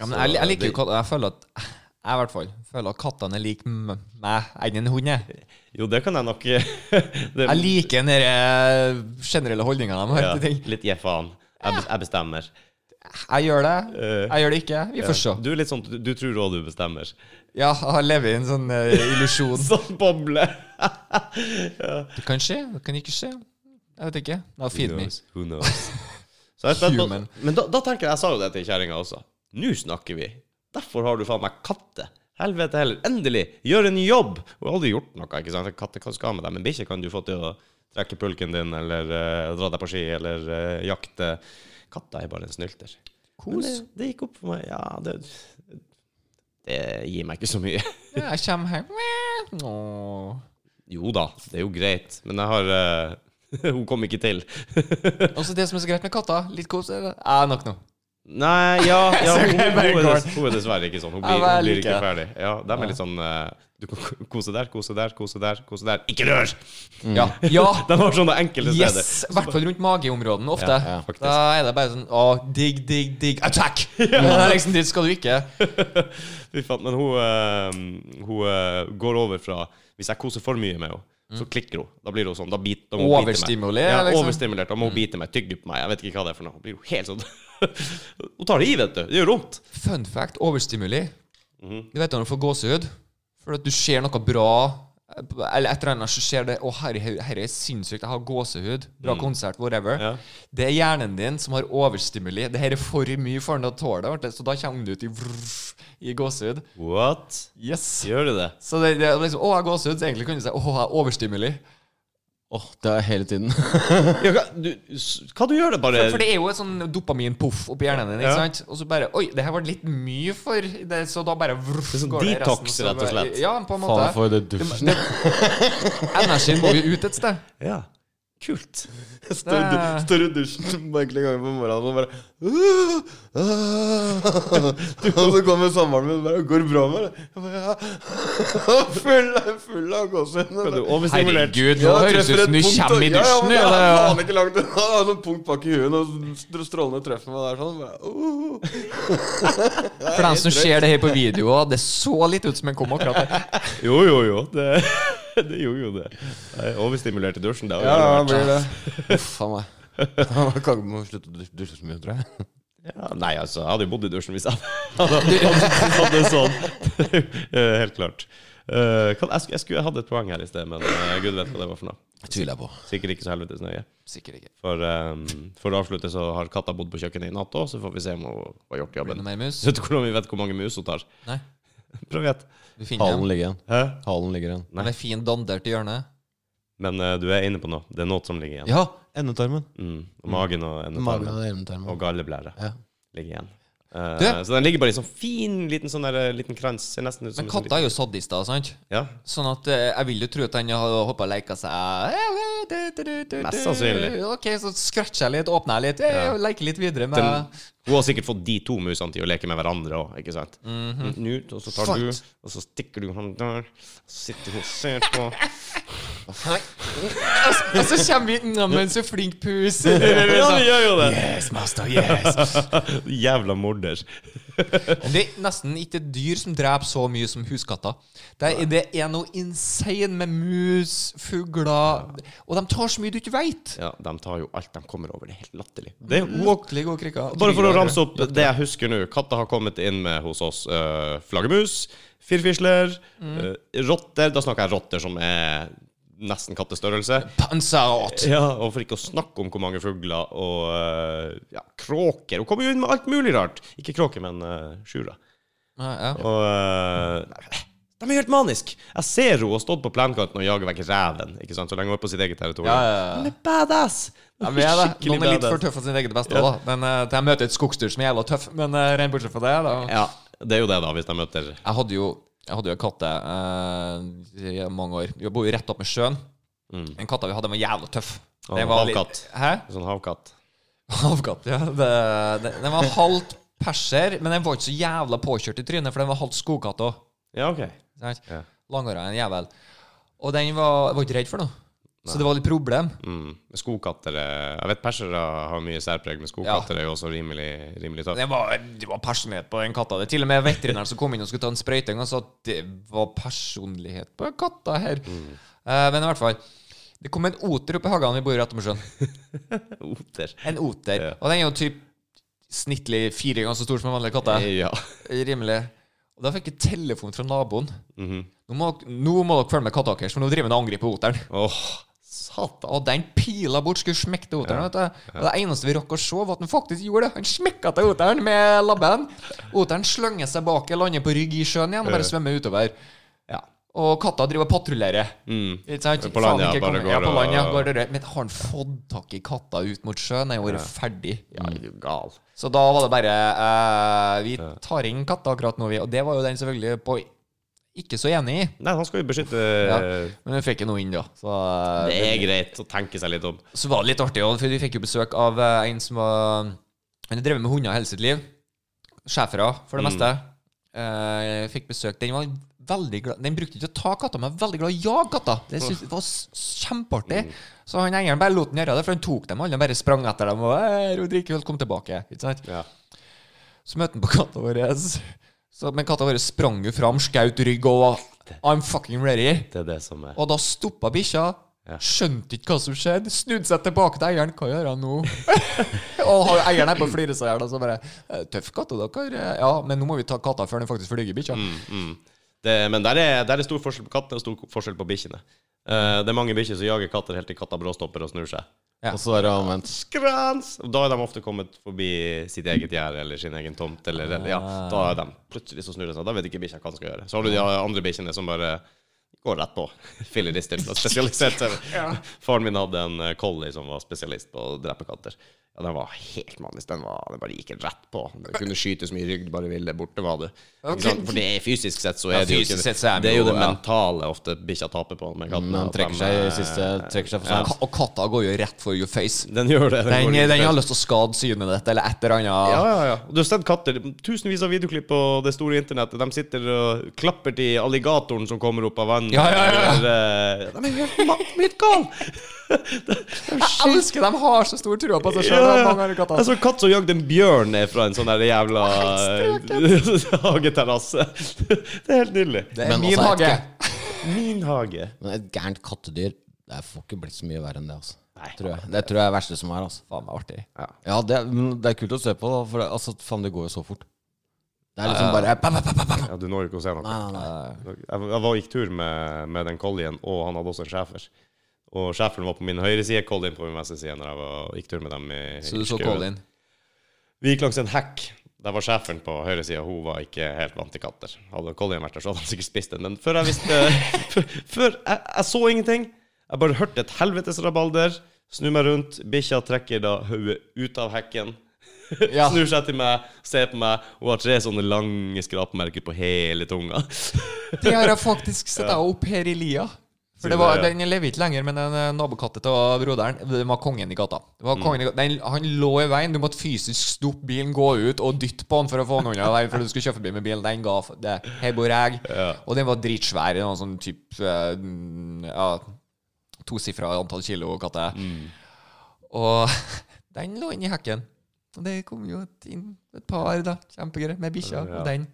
C: Ja, men
A: Så
C: jeg, jeg liker jo
A: det-
C: katter. Jeg føler at jeg i hvert fall føler at kattene er lik m- meg enn en hund. Jeg,
A: Jo, det kan jeg nok det,
C: jeg liker den der, eh, generelle holdninga de har
A: ja,
C: til ting.
A: Litt gi faen. Jeg bes- jeg bestemmer.
C: Jeg gjør det,
A: Eh.
C: jeg gjør det ikke. Vi får se.
A: Du er litt sånn, du, du tror òg du bestemmer.
C: Ja, jeg lever i en sånn eh, illusjon.
A: Sånn boble!
C: Det kan skje, det kan ikke skje. Jeg vet ikke. Now feed me.
A: Who knows? Så jeg er spent på,
C: Human.
A: men da, da tenker jeg, jeg sa jo det til kjerringa også. Nå snakker vi. Derfor har du faen meg katte. Helvete heller. Endelig! Gjør en jobb! Hun har aldri gjort noe, ikke sant. Katte hva skal ha med deg, men bikkje kan du få til å trekke pulken din, eller eh, dra deg på ski, eller eh, jakte. Katta er bare en snylter. Men Det, det gikk opp for meg. Ja, det Det gir meg ikke så mye.
C: eh, Ja, jeg kommer her Mæ. Åh.
A: Jo da, det er jo greit, men jeg har eh, Hun kom ikke til.
C: Og så det som er så greit med katter, litt kos er det. Ja, nok nå.
A: Nei, ja, ja
C: Så
A: hun, hun,
C: kan jeg bare
A: er
C: gå.
A: dess, hun er dessverre ikke sånn. Hun
C: Ja,
A: blir,
C: men
A: hun blir
C: jeg
A: ikke
C: liker
A: ferdig. Ja, De er litt sånn eh, Du kan ko- kose der, kose der, kose der, kose der. Ikke rør!
B: Mm.
C: Ja. ja.
A: De har sånne enkelte steder.
C: Yes! I hvert fall rundt mageområdene ofte.
B: ja,
A: faktisk.
C: da er det bare sånn Å, digg, digg, digg. Attack! Men det er liksom dit skal du ikke.
A: Fy faen, Men hun, eh, hun eh, går over fra Hvis jeg koser for mye med henne, så klikker hun. Da blir hun sånn. Da bit, da må hun bite meg.
C: Mm. Overstimulert,
A: Ja,
C: liksom.
A: overstimulert. Da må hun bite meg, tygge på meg. Jeg vet ikke hva det er for noe. Hun blir jo helt sånn Hun tar det i, vet du. Det gjør vondt.
C: Fun fact overstimuli.
A: Mhm.
C: Du vet når du får gåsehud? For at du ser noe bra, eller et eller annet, så ser det Å, herre, herre er sinnssykt, jeg har gåsehud. Bra konsert, whatever.
A: Mm. Ja.
C: Det er hjernen din som har overstimuli. Det her er for mye for den å tåle, vet du. så da kommer du ut i, vrrr, i gåsehud.
A: What?
C: Yes.
A: Gjør du det?
C: Så det, det er liksom Å, jeg har gåsehud. Så egentlig kan du si Å, jeg er overstimuli.
B: Åh, det er hele tiden.
A: Ja, hva, du, s- hva du gjør det bare
C: For det er jo et sånn dopaminpoff oppi hjernen din, ikke
A: Eh, Ja.
C: sant? Og så bare Oi, det her var litt mye for det, så da bare vrrr,
A: er sånn
C: går det i
A: detox,
C: resten, så
A: rett og
C: bare-
A: slett.
C: Ja, på en måte.
B: Faen for det dusjen.
C: Energien må jo ut et sted.
A: Ja. Kult.
B: Står i du- står i dusjen på enkelte ganger på morgenen og bare «Åh, åh». Og så kommer samboeren min og bare 'Går det bra med deg?' Jeg bare, «Ja.» Full av- Full av gåsehud.
A: Overstimulert.
C: nå høres ut som du kommer i dusjen.
B: Ja,
C: Ja,
B: ja, men det er
C: ja,
B: faen ikke langt unna. Det er Sånn punkt bak i huet, og str- strålene treffer meg der sånn. Bare, «Åh».
C: For dem som ser det her på video, det så litt ut som en kom akkurat der.
A: Jo, jo, jo. Det, det gjorde jo det. Jeg er Overstimulert i dusjen. Det er jo
B: Ja,
A: jævlig
B: ja,
A: rart.
B: blir det. Uff a meg. Han kan må slutte å dus- dusje så mye, tror jeg.
A: Ja, nei, altså, jeg hadde jo bodd i dusjen hvis jeg hadde hatt det sånn. Eh, Helt klart. Eh, kan, jeg, skulle, jeg skulle hatt et poeng her i sted, men eh, gud vet hva det var for noe.
B: Tviler jeg på.
A: Sikkert ikke så helvetes nøye.
C: Sikkert ikke.
A: For, eh, for å avslutte så har katta bodd på kjøkkenet i natt òg, så får vi se om hun har gjort
C: Blir det
A: jobben.
C: noe mer mus?
A: Så vet du hvordan vi vet hvor mange mus hun tar?
C: Nei.
A: Prøv gjett.
C: Vi finner
B: Halen
C: den.
B: ligger igjen.
A: Hæ?
B: Halen ligger igjen.
A: Nei.
C: Den er fin dandert i hjørnet.
A: Men eh, du er inne på noe. Det er noe som ligger igjen.
B: Ja, endetarmen.
A: Mm. Og magen og
B: Magen
A: endetarmen
B: og
A: og
B: endetarmen.
A: galleblæra
B: Ja.
A: ligger igjen. Eh,
C: Du?
A: så den ligger bare i sånn fin, liten sånn der, eh, liten krans. Ser nesten ut som
C: Men
A: en sånn
C: katta er jo sadister, sant?
A: liten- Ja.
C: Sånn at eh, jeg vil jo tro at han har hoppa og leka seg
A: Mest sannsynlig.
C: Ok, så scratcher jeg litt, åpner jeg litt, eh, og leker litt videre med
A: Den, hun har sikkert fått de to musene til å leke med hverandre òg, ikke sant? Knut, og så tar du,
C: Sant.
A: og så stikker du han der, så sitter hun og ser på
C: Og så kommer vi Neimen, så flink pus!
A: Ja, det gjør jo det!
C: Yes, master, yes.
A: Jævla morder.
C: Det er nesten ikke dyr som dreper så mye som huskatter. Det er, det er noe insane med mus, fugler Og de tar så mye du ikke veit!
A: Ja, de tar jo alt de kommer over. Det er helt latterlig. Det er jo
C: Latterlig gode krikker.
A: Bare for å ramse opp det jeg husker nå. Katta har kommet inn med hos oss eh, flaggermus, firfisler,
C: Mm.
A: eh, rotter Da snakker jeg rotter som er nesten kattestørrelse.
C: Panserat!
A: Ja, og for ikke å snakke om hvor mange fugler og eh, ja, kråker. Hun kommer jo inn med alt mulig rart. Ikke kråker, men uh, sjura.
C: Ja, ja.
A: Og eh, nei, De er helt maniske. Jeg ser henne og stått på plenkanten og jager vekk reven. Ikke sant? Så lenge hun er på sitt eget territorium.
C: Ja, ja, ja.
A: De er badass! De
C: Ja, vi er det.
A: skikkelig
C: Noen er litt
A: badass.
C: for tøffe for sin egen beste. da Men eh, Jeg møter et skogsdyr som er jævla tøff, men uh, rent bortsett fra det da.
A: Ja, det er jo det, da, hvis de møter
C: Jeg hadde jo Jeg hadde jo en katte eh, i mange år. Vi bor jo rett opp med sjøen.
A: Mm.
C: Den katta vi hadde, den var jævla tøff.
A: Ja,
C: Den var
A: havkatt.
C: litt- Hæ?
A: sånn havkatt.
C: Havkatt, ja. Det, det, den var halvt perser, men den var ikke så jævla påkjørt i trynet, for den var halvt skogkatt òg.
A: Ja, OK. Ja.
C: Langhåra en jævel. Og den var, var ikke redd for noe. Så det var litt problem.
A: Mm. Skogkatter eh, Jeg vet persere har mye særpreg, men skogkatter er jo også rimelig, rimelig tøffe.
C: Det var, det var personlighet på den katta. Det er til og med veterinæren som kom inn og skulle ta en sprøyte, en gang sa at det var personlighet på katta her.
A: Mm.
C: Eh, men i hvert fall. Det kom en oter opp i hagen vi bor i rett om sjøen.
A: Oter.
C: En oter.
A: Ja.
C: Og den er jo typ snittlig fire ganger så stor som en vanlig katt. er.
A: Ja.
C: Rimelig. Og da fikk jeg telefon fra naboen.
A: Mhm.
C: Nå må, dere- nå må dere følge med katta deres, for nå driver den og angriper oteren.
A: Åh,
C: Satan. Og den pila bort skulle smekke til oteren. vet du. Og det eneste vi rakk å se, var at han faktisk gjorde det. Han smekka til oteren med labben. Oteren slynger seg bak, lander på rygg i sjøen igjen og bare svømmer utover.
A: Ja.
C: Og katta driver og patruljerer.
A: Mm.
C: Ikke sant?
A: På land,
C: Faen
A: ja,
C: ikke
A: bare
C: kommer-
A: går
C: ja, på
A: og-
C: land, ja, går det rett. Men har han fått tak i katta ut mot sjøen? Er jo vært ferdig.
A: ja, er du gal.
C: Så da var det bare eh, Vi tar inn katta akkurat nå, vi. Og det var jo den selvfølgelig på ikke så enig i.
A: Nei, han skal jo beskytte eh,
C: Men vi fikk jo noe inn, da. Så eh,
A: Det er greit å tenke seg litt om.
C: Så var det litt artig, også, for vi fikk jo besøk av eh, en som var Han har drevet med hunder hele sitt liv. Schæfere, for det
A: Mm.
C: meste. Eh, fikk besøk. Den var veldig glad Den brukte ikke å ta katter, men var veldig glad i å jage katter. Det syntes jeg var s- kjempeartig.
A: Mm.
C: Så han eieren bare lot den gjøre det, for han tok dem alle. Han bare sprang etter dem. Og «Hei, Rodrigo, kom tilbake. Ikke sant?
A: Ja.
C: Så møtte han på katta vår. Så, men katta vår sprang jo fram, skaut rygg og var I'm fucking ready.
A: Det er det som er
C: Og da stoppa bikkja.
A: Ja.
C: Skjønte ikke hva som skjedde. Snudde seg tilbake til eieren. Hva gjør jeg nå? og har- eieren er på å flire seg i hjel. og så bare, «Eh, Tøff katt, og dere. eh, Ja, men nå må vi ta katta før den faktisk flyr, bikkja.
A: Mm, det, Men der er, der er stor forskjell på kattene og stor forskjell på bikkjene. Eh, det er mange bikkjer som jager katter helt til katta bråstopper og snur seg.
C: Ja.
B: Og så er det omvendt.
A: Skrans! Og da er de ofte kommet forbi sitt eget gjerde eller sin egen tomt. Eller, eller, ja, da er de plutselig så snur de seg. Da vet ikke bikkja hva de skal gjøre. Så har du de andre bikkjene som bare går rett på. Fillerister. som er Spesialisert. seg. Faren min hadde en eh, collie som var spesialist på å drepe katter. Ja, Den var helt manisk. Den, var, den bare gikk rett på. Den kunne skyte så mye rygg du bare ville. Borte var du. Ikke
C: Ok.
A: sant? For det er fysisk sett så
C: Ja,
A: er det jo
C: fysisk
A: ikke
C: sett så er
A: Det
C: de
A: er jo
C: jo-
A: det
C: ja.
A: mentale ofte bikkja taper på med kattene.
B: Men han
A: at
B: trekker
A: de,
B: seg i
A: eh,
B: siste trekker seg for
C: Ka-
B: sent.
C: Og katta går jo rett for your face.
A: Den gjør det.
C: Den,
A: går
C: den
A: ut.
C: har lyst til å skade synet ditt, eller et eller annet.
A: Ja, ja, ja. Og Du har sett katter. Tusenvis av videoklipp på det store internettet. De sitter og klapper til alligatoren som kommer opp av vannet.
C: Ja, ja, ja.
A: Eller, eh, de er jo helt ma- helt gale!
C: Jeg elsker de har så stor trua på seg
A: Ja,
C: sjøl.
A: ja.
C: mange
A: Jeg
C: katter.
A: så en katt altså. som jagde en bjørn ned fra en sånn der jævla eh, hageterrasse. Det er helt nydelig.
C: Det er
B: Men altså,
C: min
B: også et
C: hage.
A: Min hage.
B: Men et gærent kattedyr Det får ikke blitt så mye verre enn det, altså. Tror jeg. Det tror jeg er det verste som er. Altså.
C: Faen meg artig.
B: Ja, det, er- men det er kult å se på, da. For det, altså, faen, det går jo så fort. Det er liksom bare pa, pa, pa, pa, pa.
A: Ja, du når jo ikke å se noe.
B: Nei, nei, nei.
C: Eh,
A: Jeg, jeg var, gikk tur med, med den collien, og han hadde også en schæfer. Og schæferen var på min høyre side, collien på min venstre side når jeg var, gikk tur med dem. I,
C: så du
A: i
C: så
A: skauen.
C: Colin?
A: Vi gikk langs en hekk. Der var schæferen på høyre side, og hun var ikke helt vant til katter. Hadde collien vært der, så hadde han sikkert spist den. Men før jeg visste Før før jeg, jeg så ingenting. Jeg bare hørte et helvetes rabalder. Snur meg rundt. Bikkja trekker da hodet ut av hekken.
C: Ja.
A: Snur seg til meg, ser på meg. Hun har tre sånne lange skrapmerker på hele tunga.
C: Det har jeg faktisk sett deg opp her i lia. For det var,
A: Sier det, ja.
C: Den lever ikke lenger, men den eh, nabokatten til broderen eh, Den var kongen i gata. Det
A: Mm.
C: var kongen i gata. Den, han lå i veien. Du måtte fysisk stoppe bilen, gå ut og dytte på han for å få han unna veien. For du skulle kjøre forbi med bilen. Den ga f- det. Her bor jeg. Og den var dritsvær. Noen sånn typ eh, mm, ja, tosifra antall kilo katte.
A: Mm.
C: Og den lå inni hekken. Og det kom jo et, inn et par, da. Kjempegreier. Med bikkja. Og den.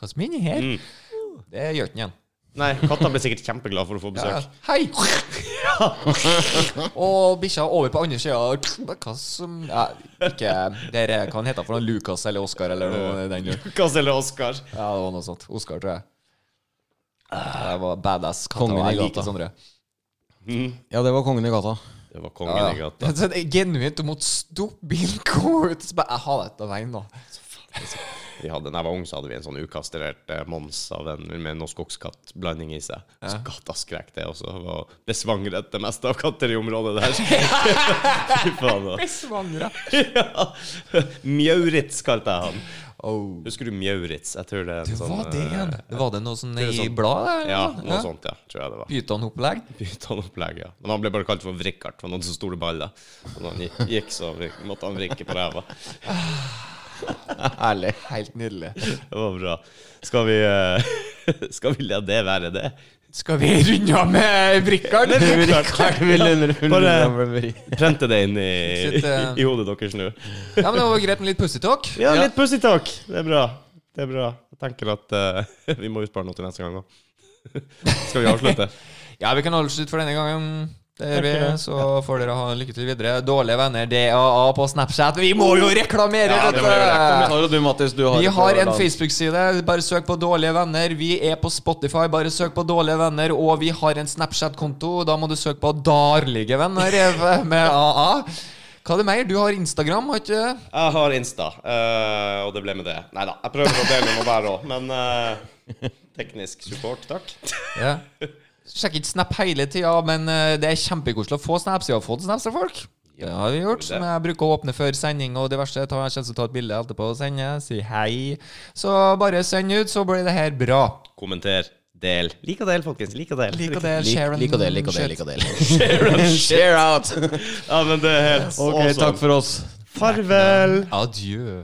C: Hva som er inni her?
A: Mm.
C: Det gjør ikke den igjen.
A: Nei, katta ble sikkert kjempeglad for å få
C: Ja.
A: besøk.
C: Hei! og bikkja over på andre sida Hva som ja, Ikke det er hva han heter for noe Lukas eller Oskar eller noe i den duren.
A: Lukas eller Oskar?
C: Ja, det var noe sånt. Oskar, tror jeg. Det var badass katter.
B: Kongen
C: og jeg
B: i
C: liker
B: gata.
C: sånne.
B: Ja, det var kongen i gata.
A: Det var kongen i
C: Ja.
A: gata.
C: Så det er Genuint, du måtte stoppe bilen, gå ut og så bare Jeg har dette av veien, da.
A: Vi hadde, når jeg var ung, så hadde vi en sånn ukastrert eh, Mons av en med noe skogskattblanding i seg. Så katta skrek det også. Var besvangret det meste av katter i området der. Fy faen, da.
C: Besvangret.
A: Ja. Mjauritz kalte jeg han.
C: Oh.
A: Husker du Mjauritz? Jeg tror det er en
C: Det
A: sånn
C: var det
A: eh,
C: igjen. Var det noe sånn
A: er
C: i
A: sånn-
C: bladet?
A: Ja, noe sånt, ja. Tror jeg det var.
C: Pytonopplegg?
A: Pytonopplegg, ja. Men han ble bare kalt for Vrikard, for han hadde så store baller. Og når han gikk- gikk, så vrik- måtte han vrikke på ræva.
C: Herlig. Helt nydelig.
A: Det var bra. Skal vi, eh, skal vi la det være det?
C: Skal vi runde av med Brikkard?
A: Bare prente det inn i,
C: Slutt, eh.
A: i hodet deres nå.
C: Ja, men det var greit med litt pussetalk.
A: Ja, litt pussytalk. Det er bra. Det er bra. Jeg tenker at eh, vi må jo spare noe til neste gang òg. Skal vi avslutte?
C: Ja, vi kan holde slutt for denne gangen. Det gjør vi,
A: Takk for det.
C: Så får dere ha lykke til videre. Dårlige venner, DAA på Snapchat. Vi må jo reklamere!
A: Ja, det må vi
C: vet du.
B: Har du, Mattis, du
C: Vi
B: det på
C: har en
B: land.
C: Facebook-side. Bare søk på Dårlige venner. Vi er på Spotify. Bare søk på Dårlige venner. Og vi har en Snapchat-konto. Da må du søke på Darlige venner med AA. Hva er det mer? Du har Instagram, har ikke du?
A: Jeg har Insta, eh, og det ble med det. Nei da, jeg prøver å dele noe hver òg, men eh, teknisk support, takk.
C: Ja. Sjekk ikke Snap hele tida, men eh, det er kjempekoselig å få snaps. Vi har fått snaps av folk. Det har vi gjort.
A: det.
C: Som jeg bruker å åpne før sending og diverse. Ta, jeg kjenner å ta et bilde etterpå og sende. Si hei. Så bare send ut, så blir det her bra.
A: Kommenter, del. Lik og del, folkens. Lik og del.
C: Lik og del,
B: Lik-
C: share and
B: Lik og del, lik og
C: shit.
B: del, lik og del. Share out!
A: Ja, men det er helt
B: Ok, takk for oss.
A: Farvel.
C: Adjø.